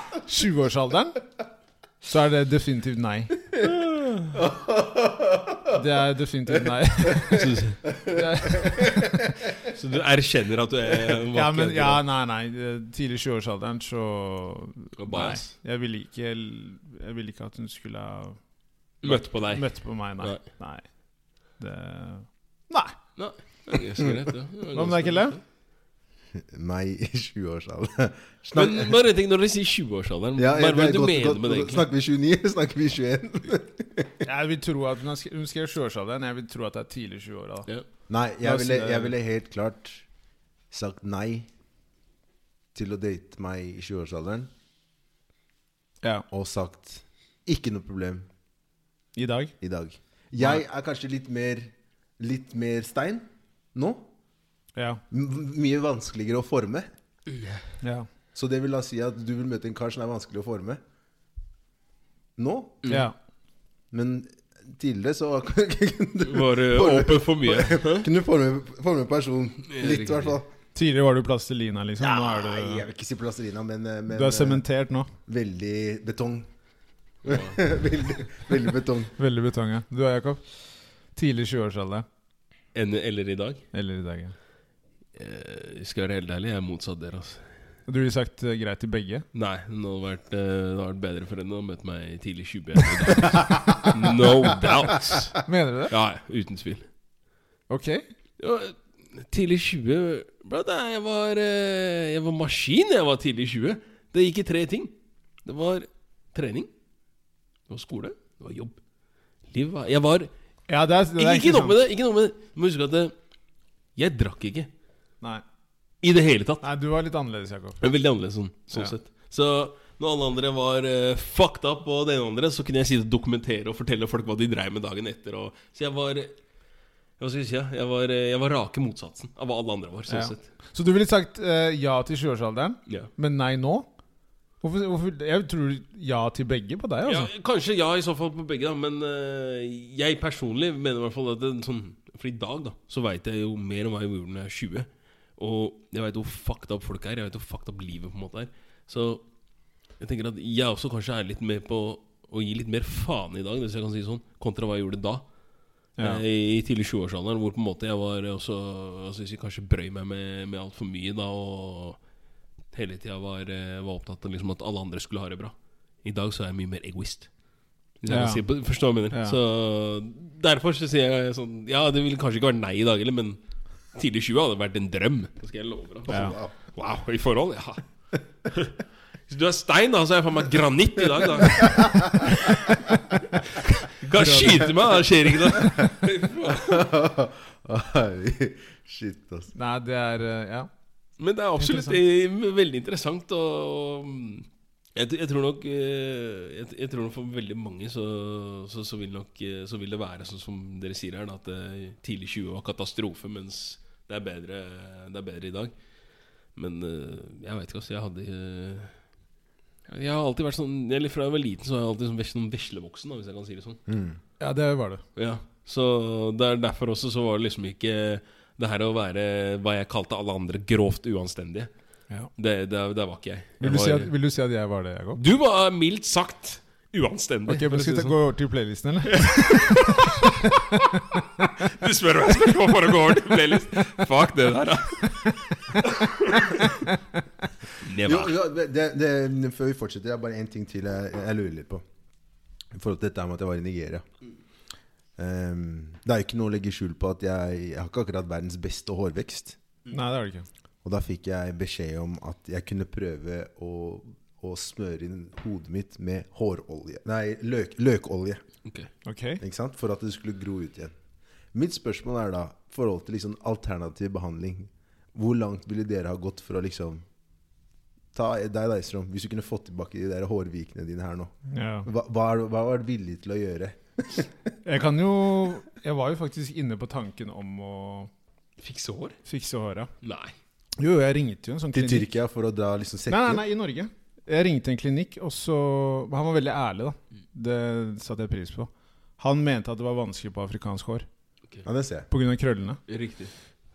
[SPEAKER 3] 20-årsalderen, så er det definitivt nei. Det er definitivt nei. Det er,
[SPEAKER 2] Så du erkjenner at du er
[SPEAKER 3] ja, men, ja, nei, nei. Tidlig i 20-årsalderen så Nei,
[SPEAKER 2] Bias.
[SPEAKER 3] jeg ville ikke, jeg ville ikke at hun skulle ha
[SPEAKER 2] Møtte på deg.
[SPEAKER 3] Møtte på meg, nei.
[SPEAKER 2] Nei.
[SPEAKER 3] Nei. Det Nei.
[SPEAKER 2] Det er ganske greit, det. Det var
[SPEAKER 3] Hva med deg, Kelle?
[SPEAKER 1] Meg i 20-årsalderen.
[SPEAKER 2] Men bare en ting, når dere sier 20-årsalderen,
[SPEAKER 1] Ja,
[SPEAKER 2] hva
[SPEAKER 1] ja,
[SPEAKER 2] er det
[SPEAKER 1] er
[SPEAKER 2] du
[SPEAKER 1] godt-
[SPEAKER 2] mener
[SPEAKER 1] godt-
[SPEAKER 2] med det? egentlig?
[SPEAKER 1] Snakker vi 29? Snakker vi 21?
[SPEAKER 3] Jeg vil tro at hun har sk- hun skrev 20-årsalderen. Jeg vil tro at det er tidlig 20-åra. da.
[SPEAKER 2] Ja.
[SPEAKER 1] Nei,
[SPEAKER 3] La
[SPEAKER 1] jeg
[SPEAKER 3] oss-
[SPEAKER 1] ville, jeg ville helt klart sagt nei til å date meg i 20-årsalderen.
[SPEAKER 3] Ja.
[SPEAKER 1] Og sagt 'ikke noe problem
[SPEAKER 3] I dag.
[SPEAKER 1] i dag'. Jeg er kanskje litt mer, litt mer stein nå.
[SPEAKER 3] Ja.
[SPEAKER 1] M mye vanskeligere å forme.
[SPEAKER 3] Ja.
[SPEAKER 1] Så det vil da si at du vil møte en kar som er vanskelig å forme nå.
[SPEAKER 2] Mm.
[SPEAKER 3] ja.
[SPEAKER 1] Men tidligere så kunne du
[SPEAKER 2] Var det
[SPEAKER 1] Bare-
[SPEAKER 2] åpen for mye?
[SPEAKER 1] kunne du forme, forme en person. Litt, i hvert fall.
[SPEAKER 3] Tidligere var du plastelina, liksom. Nå er
[SPEAKER 1] Nei, jeg
[SPEAKER 3] du
[SPEAKER 1] vil ikke si plastelina, men, eh, men eh,
[SPEAKER 3] Du er sementert nå.
[SPEAKER 1] Veldig betong. veldig, veldig betong.
[SPEAKER 3] Veldig betanga. Du er Jakob. Tidlig 20-årsalder.
[SPEAKER 2] Enn eller i dag?
[SPEAKER 3] Eller i dag, ja.
[SPEAKER 2] Eh, skal jeg være helt ærlig, jeg er motsatt dere. Altså.
[SPEAKER 3] Du ville sagt eh, greit til begge?
[SPEAKER 2] Nei, det hadde vært, eh, det hadde vært bedre for henne å møte meg i tidlig 20 enn i dag. No doubts.
[SPEAKER 3] Mener du det?
[SPEAKER 2] Ja, ja, uten tvil.
[SPEAKER 3] Ok.
[SPEAKER 2] Ja, eh, tidlig 20 Bro, da, jeg, var, eh, jeg var maskin da jeg var tidlig 20. Det gikk i tre ting. Det var trening, det var skole, det var jobb. Liv var Jeg var
[SPEAKER 3] Ja, det er, det
[SPEAKER 2] Ikke,
[SPEAKER 3] er
[SPEAKER 2] ikke noe
[SPEAKER 3] sant.
[SPEAKER 2] med det! Ikke noe med det. Du må huske at eh, jeg drakk ikke
[SPEAKER 3] Nei.
[SPEAKER 2] i det hele tatt.
[SPEAKER 3] Nei, du var litt annerledes, Jakob.
[SPEAKER 2] Det er veldig annerledes sånn, sånn
[SPEAKER 3] Ja.
[SPEAKER 2] sett. Så når alle andre var eh, fucked up, og det ene og andre, så kunne jeg sitte og dokumentere og fortelle folk hva de dreiv med dagen etter. Og, så jeg var Hva skal jeg si? ja? Jeg var, eh, jeg var rake motsatsen av hva alle andre var, sånn
[SPEAKER 3] Ja.
[SPEAKER 2] sett.
[SPEAKER 3] Så du ville sagt eh, ja til 20-årsalderen?
[SPEAKER 2] Ja.
[SPEAKER 3] Men nei nå? Hvorfor, hvorfor, jeg tror ja til begge på deg,
[SPEAKER 2] Ja,
[SPEAKER 3] altså.
[SPEAKER 2] kanskje ja, i så fall på begge, da. Men eh, jeg personlig mener i hvert fall at det, sånn, For i dag da, så veit jeg jo mer om hva jeg gjorde når jeg er 20. Og jeg veit hvor fucked up folk er. Jeg vet hvor fucked up livet på en måte er. Så jeg tenker at jeg også kanskje er litt med på å gi litt mer faen i dag, hvis jeg kan si det sånn, kontra hva jeg gjorde da.
[SPEAKER 3] Ja.
[SPEAKER 2] Eh, I tidlig 20-årsalderen, hvor på en måte jeg var også altså, hvis jeg Kanskje brøy meg med, med altfor mye da, og hele tida var, eh, var opptatt av liksom, at alle andre skulle ha det bra. I dag så er jeg mye mer egoist. Hvis jeg
[SPEAKER 3] Ja.
[SPEAKER 2] kan si, på- forstår hva jeg mener.
[SPEAKER 3] Ja.
[SPEAKER 2] Så derfor så sier jeg sånn Ja, det ville kanskje ikke vært nei i dag heller, men tidlig 20 hadde vært en drøm. Det skal jeg love deg.
[SPEAKER 3] Ja.
[SPEAKER 1] Wow.
[SPEAKER 2] Wow, i forhold? Ja. Hvis du er stein, da, så er jeg faen meg granitt i dag, da. Kan skyte meg, da. Det skjer ikke noe.
[SPEAKER 1] Shit, altså.
[SPEAKER 3] Nei, det er eh, Ja.
[SPEAKER 2] Men det er absolutt eh, veldig interessant, og mm, jeg, t- jeg tror nok eh, jeg, t- jeg tror nok for veldig mange så, så, så, vil nok, eh, så vil det være sånn som dere sier her, da, at eh, tidlig 20 var katastrofe, mens det er bedre, det er bedre i dag. Men eh, jeg veit ikke, altså. Jeg hadde eh, Jeg har alltid vært sånn Eller fra jeg var liten, så har jeg alltid sånn, vært sånn veslevoksen, da, hvis jeg kan si det sånn.
[SPEAKER 1] Mm.
[SPEAKER 3] Ja, det var det.
[SPEAKER 2] Ja, så det er derfor også så var det liksom ikke det her å være hva jeg kalte alle andre grovt uanstendige.
[SPEAKER 3] Ja.
[SPEAKER 2] Det, det, det var ikke jeg. jeg
[SPEAKER 3] Vil du, si
[SPEAKER 2] var,
[SPEAKER 3] at, vil du si at jeg var det, Jakob?
[SPEAKER 2] Du var mildt sagt uanstendig.
[SPEAKER 3] Ok, men
[SPEAKER 2] for å si
[SPEAKER 3] Skal vi
[SPEAKER 2] det
[SPEAKER 3] ta-
[SPEAKER 2] sånn.
[SPEAKER 3] gå over til playlisten, eller?
[SPEAKER 2] Du spør hva jeg skal gå for å gå over til playlist. Fuck det der, da.
[SPEAKER 1] Jo,
[SPEAKER 2] Never.
[SPEAKER 1] jo, det, det, før vi fortsetter, det er bare én ting til jeg, jeg lurer litt på. I forhold til dette med at jeg var i Nigeria. Ehm, det er jo ikke noe å legge skjul på at jeg, jeg har ikke akkurat verdens beste hårvekst.
[SPEAKER 3] Nei, det var det ikke.
[SPEAKER 1] Og da fikk jeg beskjed om at jeg kunne prøve å, å smøre inn hodet mitt med hårolje. Nei, løk, løkolje.
[SPEAKER 2] Ok.
[SPEAKER 3] Ok.
[SPEAKER 1] Ikke sant? For at det skulle gro ut igjen. Mitt spørsmål er da, i forhold til liksom alternativ behandling, hvor langt ville dere ha gått for å liksom Ta deg, da, Istrom, hvis du kunne fått tilbake de der hårvikene dine her nå.
[SPEAKER 3] Ja.
[SPEAKER 1] Hva, hva, er, du- hva var du villig til å gjøre?
[SPEAKER 3] Jeg kan jo Jeg var jo faktisk inne på tanken om å
[SPEAKER 2] Fikse hår?
[SPEAKER 3] fikse håra.
[SPEAKER 2] Nei.
[SPEAKER 3] Jo, jeg ringte jo en sånn
[SPEAKER 1] Til
[SPEAKER 3] klinikk.
[SPEAKER 1] Tyrkia for å dra liksom
[SPEAKER 3] Nei, nei,
[SPEAKER 1] sekker?
[SPEAKER 3] nei, i Norge. Jeg ringte en klinikk, og så Han var veldig ærlig, da.
[SPEAKER 1] Mm.
[SPEAKER 3] Det satte jeg pris på. Han mente at det var vanskelig på afrikansk hår
[SPEAKER 1] Ja, det ser jeg.
[SPEAKER 3] pga. krøllene.
[SPEAKER 2] Riktig.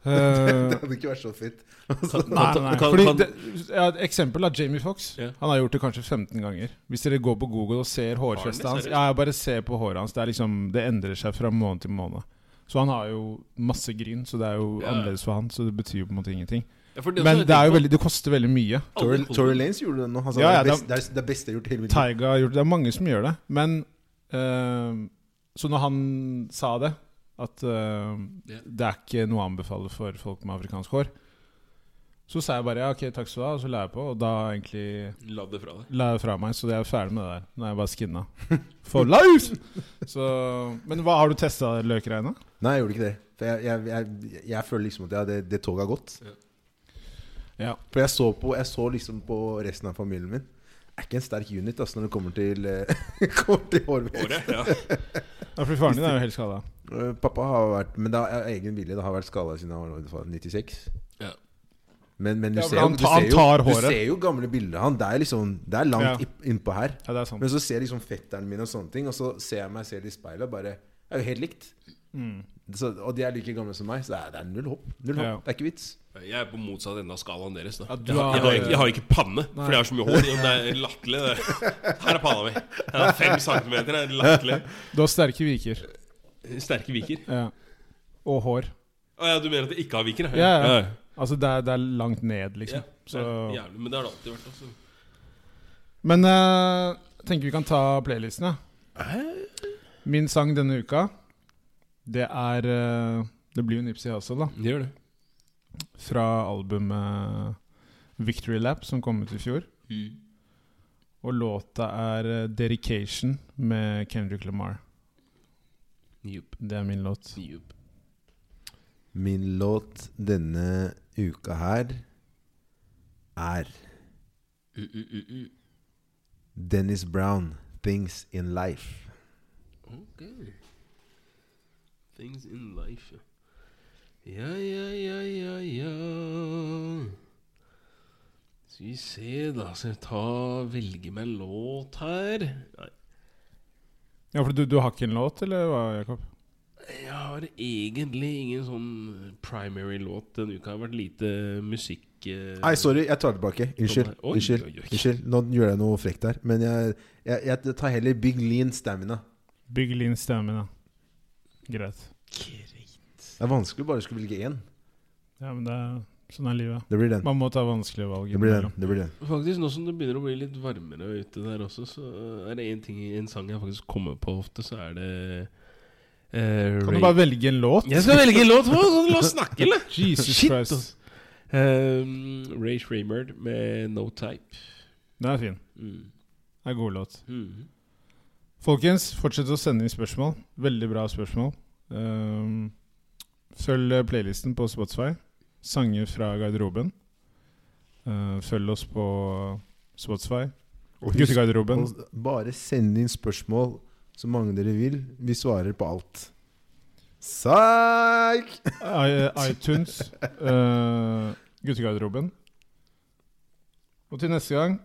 [SPEAKER 1] Det
[SPEAKER 3] Eh,
[SPEAKER 1] hadde ikke vært så fint.
[SPEAKER 3] Altså, Nei, nei, nei.
[SPEAKER 2] Kan-
[SPEAKER 3] Fordi
[SPEAKER 2] kan-
[SPEAKER 3] det, ja, et eksempel er Jamie Fox.
[SPEAKER 2] Ja.
[SPEAKER 3] Han har gjort det kanskje 15 ganger. Hvis dere går på Google og ser hårfestet
[SPEAKER 2] Har han det,
[SPEAKER 3] hans
[SPEAKER 2] seriøst?
[SPEAKER 3] Ja, jeg bare ser på håret hans. Det, er liksom, det endrer seg fra måned til måned. Så han har jo masse gryn, så det er jo
[SPEAKER 2] Ja.
[SPEAKER 3] annerledes for han. Så det betyr jo på en måte ingenting.
[SPEAKER 2] Ja, for
[SPEAKER 3] Men det, er jo veldig, det koster veldig mye.
[SPEAKER 1] Tory, Tory Lanes gjorde det nå. Han sa
[SPEAKER 3] Ja, ja,
[SPEAKER 1] det, er best, det, er, det er beste jeg har gjort i hele mitt liv.
[SPEAKER 3] Taiga har gjort det. Det er mange som gjør det. Men eh, Så når han sa det, at eh,
[SPEAKER 2] Ja.
[SPEAKER 3] det er ikke noe å anbefale for folk med afrikansk hår, så sa jeg bare ja, ok, takk skal du ha, og så la jeg på. Og da egentlig
[SPEAKER 2] La det fra deg.
[SPEAKER 3] La det fra meg, så jeg er ferdig med det der. Nå er jeg bare skinna. For life! Så, men hva har du testa løkregna?
[SPEAKER 1] Nei, jeg gjorde ikke det. For jeg, jeg, jeg, jeg føler liksom at jeg, det, det toget har gått.
[SPEAKER 3] Ja.
[SPEAKER 1] For jeg så, på, jeg så liksom på resten av familien min. Jeg er ikke en sterk unit ass, når det kommer til, eh, kommer til hårvekst.
[SPEAKER 2] Håret? Ja.
[SPEAKER 3] For faren din er jo helt skada.
[SPEAKER 1] Eh, Pappa har vært Men det er av egen vilje. Det har vært skada siden han var 96.
[SPEAKER 2] Ja.
[SPEAKER 1] Men, men du,
[SPEAKER 3] Ja, for
[SPEAKER 1] ser, jo-
[SPEAKER 3] han
[SPEAKER 1] du,
[SPEAKER 3] tar- han
[SPEAKER 1] ser jo,
[SPEAKER 3] tar
[SPEAKER 1] du
[SPEAKER 3] håret.
[SPEAKER 1] ser jo gamle bilder av han. Det er, liksom, det er langt
[SPEAKER 3] Ja.
[SPEAKER 1] ipp- innpå her.
[SPEAKER 3] Ja, det er sant.
[SPEAKER 1] Men så ser jeg liksom fetteren min og sånne ting, og så ser jeg meg selv i speilet og bare Det er jo helt likt.
[SPEAKER 3] Mm.
[SPEAKER 1] Så, og de er like gamle som meg, så det er, det er null hopp. Null hopp.
[SPEAKER 3] Ja.
[SPEAKER 1] Det er ikke vits.
[SPEAKER 2] Jeg er på motsatt ende av skalaen deres. da
[SPEAKER 3] Ja, du
[SPEAKER 2] jeg, har, jeg,
[SPEAKER 3] har-
[SPEAKER 2] har ikke, jeg har ikke panne, for jeg har så mye hår. og Det er latterlig. det. Her er panna mi. Jeg har fem centimeter. Det er latterlig.
[SPEAKER 3] Du har sterke viker.
[SPEAKER 2] Sterke viker.
[SPEAKER 3] Ja. Og hår.
[SPEAKER 2] Å ja, du mener at det ikke har viker? da?
[SPEAKER 3] Ja, ja.
[SPEAKER 2] ja.
[SPEAKER 3] Altså, det er, det er langt ned,
[SPEAKER 2] ja.
[SPEAKER 3] liksom.
[SPEAKER 2] Så.
[SPEAKER 3] Så.
[SPEAKER 2] Jævlig, men det har det alltid vært. altså. Også.
[SPEAKER 3] Men eh, tenker vi kan ta playlisten, ja. Min sang denne uka, det er eh, Det blir jo Nipsey Hussle, da.
[SPEAKER 2] Det gjør det.
[SPEAKER 3] Fra albumet eh, Victory Lap, som kom ut i fjor.
[SPEAKER 2] Mm.
[SPEAKER 3] Og låta er eh, 'Dedication' med Kendrick Lamar.
[SPEAKER 2] Jupp.
[SPEAKER 3] Det er min låt.
[SPEAKER 2] Jupp.
[SPEAKER 1] Min låt denne uka her er
[SPEAKER 2] Mm, mm, mm, mm.
[SPEAKER 1] Dennis Brown, 'Things In Life'.
[SPEAKER 2] mm. Ok. Things in life. Ja, ja, ja, ja, ja. Skal vi se, da. Skal jeg ta velge meg en låt her? Nei,
[SPEAKER 3] Ja, for du, du har ikke en låt, eller hva, Jakob?
[SPEAKER 2] Jeg har egentlig ingen sånn primary låt denne uka. Det har vært lite musikk... eh,
[SPEAKER 1] Nei, sorry, jeg tar det tilbake. Unnskyld.
[SPEAKER 2] Oi,
[SPEAKER 1] Unnskyld.
[SPEAKER 2] oi, oi.
[SPEAKER 1] Unnskyld. Nå gjør jeg noe frekt her. Men jeg, jeg, jeg tar heller Big Lean Stamina.
[SPEAKER 3] Bygg Linn Stamina. Greit.
[SPEAKER 2] Greit.
[SPEAKER 1] Det er vanskelig å bare skulle velge én.
[SPEAKER 3] Ja, men det er sånn er livet.
[SPEAKER 1] Det blir den.
[SPEAKER 3] Man må ta vanskelige valg.
[SPEAKER 1] Det blir den.
[SPEAKER 3] innimellom.
[SPEAKER 1] Det blir den.
[SPEAKER 2] Faktisk, nå som det begynner å bli litt varmere ute der også, så er det en ting en sang jeg faktisk kommer på ofte, så er det eh,
[SPEAKER 3] Kan du
[SPEAKER 2] Ray-
[SPEAKER 3] bare velge en låt?
[SPEAKER 2] Jeg skal velge en låt! hva? Sånn, La oss snakke, eller?
[SPEAKER 3] Jesus
[SPEAKER 2] Shit,
[SPEAKER 3] Christ.
[SPEAKER 2] ass. Um, Ray Shreemerd med No Type.
[SPEAKER 3] Den er fin.
[SPEAKER 2] Mm.
[SPEAKER 3] Det er god låt.
[SPEAKER 2] Mm.
[SPEAKER 3] Folkens, fortsett å sende inn spørsmål. Veldig bra spørsmål. Ehm, følg eh, playlisten på Spotify. Sanger fra garderoben. Eh, følg oss på Spotify.
[SPEAKER 1] Og husk-
[SPEAKER 3] Guttegarderoben.
[SPEAKER 1] og bare send inn spørsmål så mange dere vil. Vi svarer på alt. Psyk!
[SPEAKER 3] I-
[SPEAKER 2] uh,
[SPEAKER 3] iTunes, eh, Guttegarderoben. Og til neste gang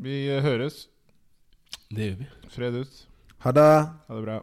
[SPEAKER 3] Vi høres.
[SPEAKER 2] Det gjør vi.
[SPEAKER 3] Fred ut.
[SPEAKER 1] Ha det.
[SPEAKER 3] Ha det bra.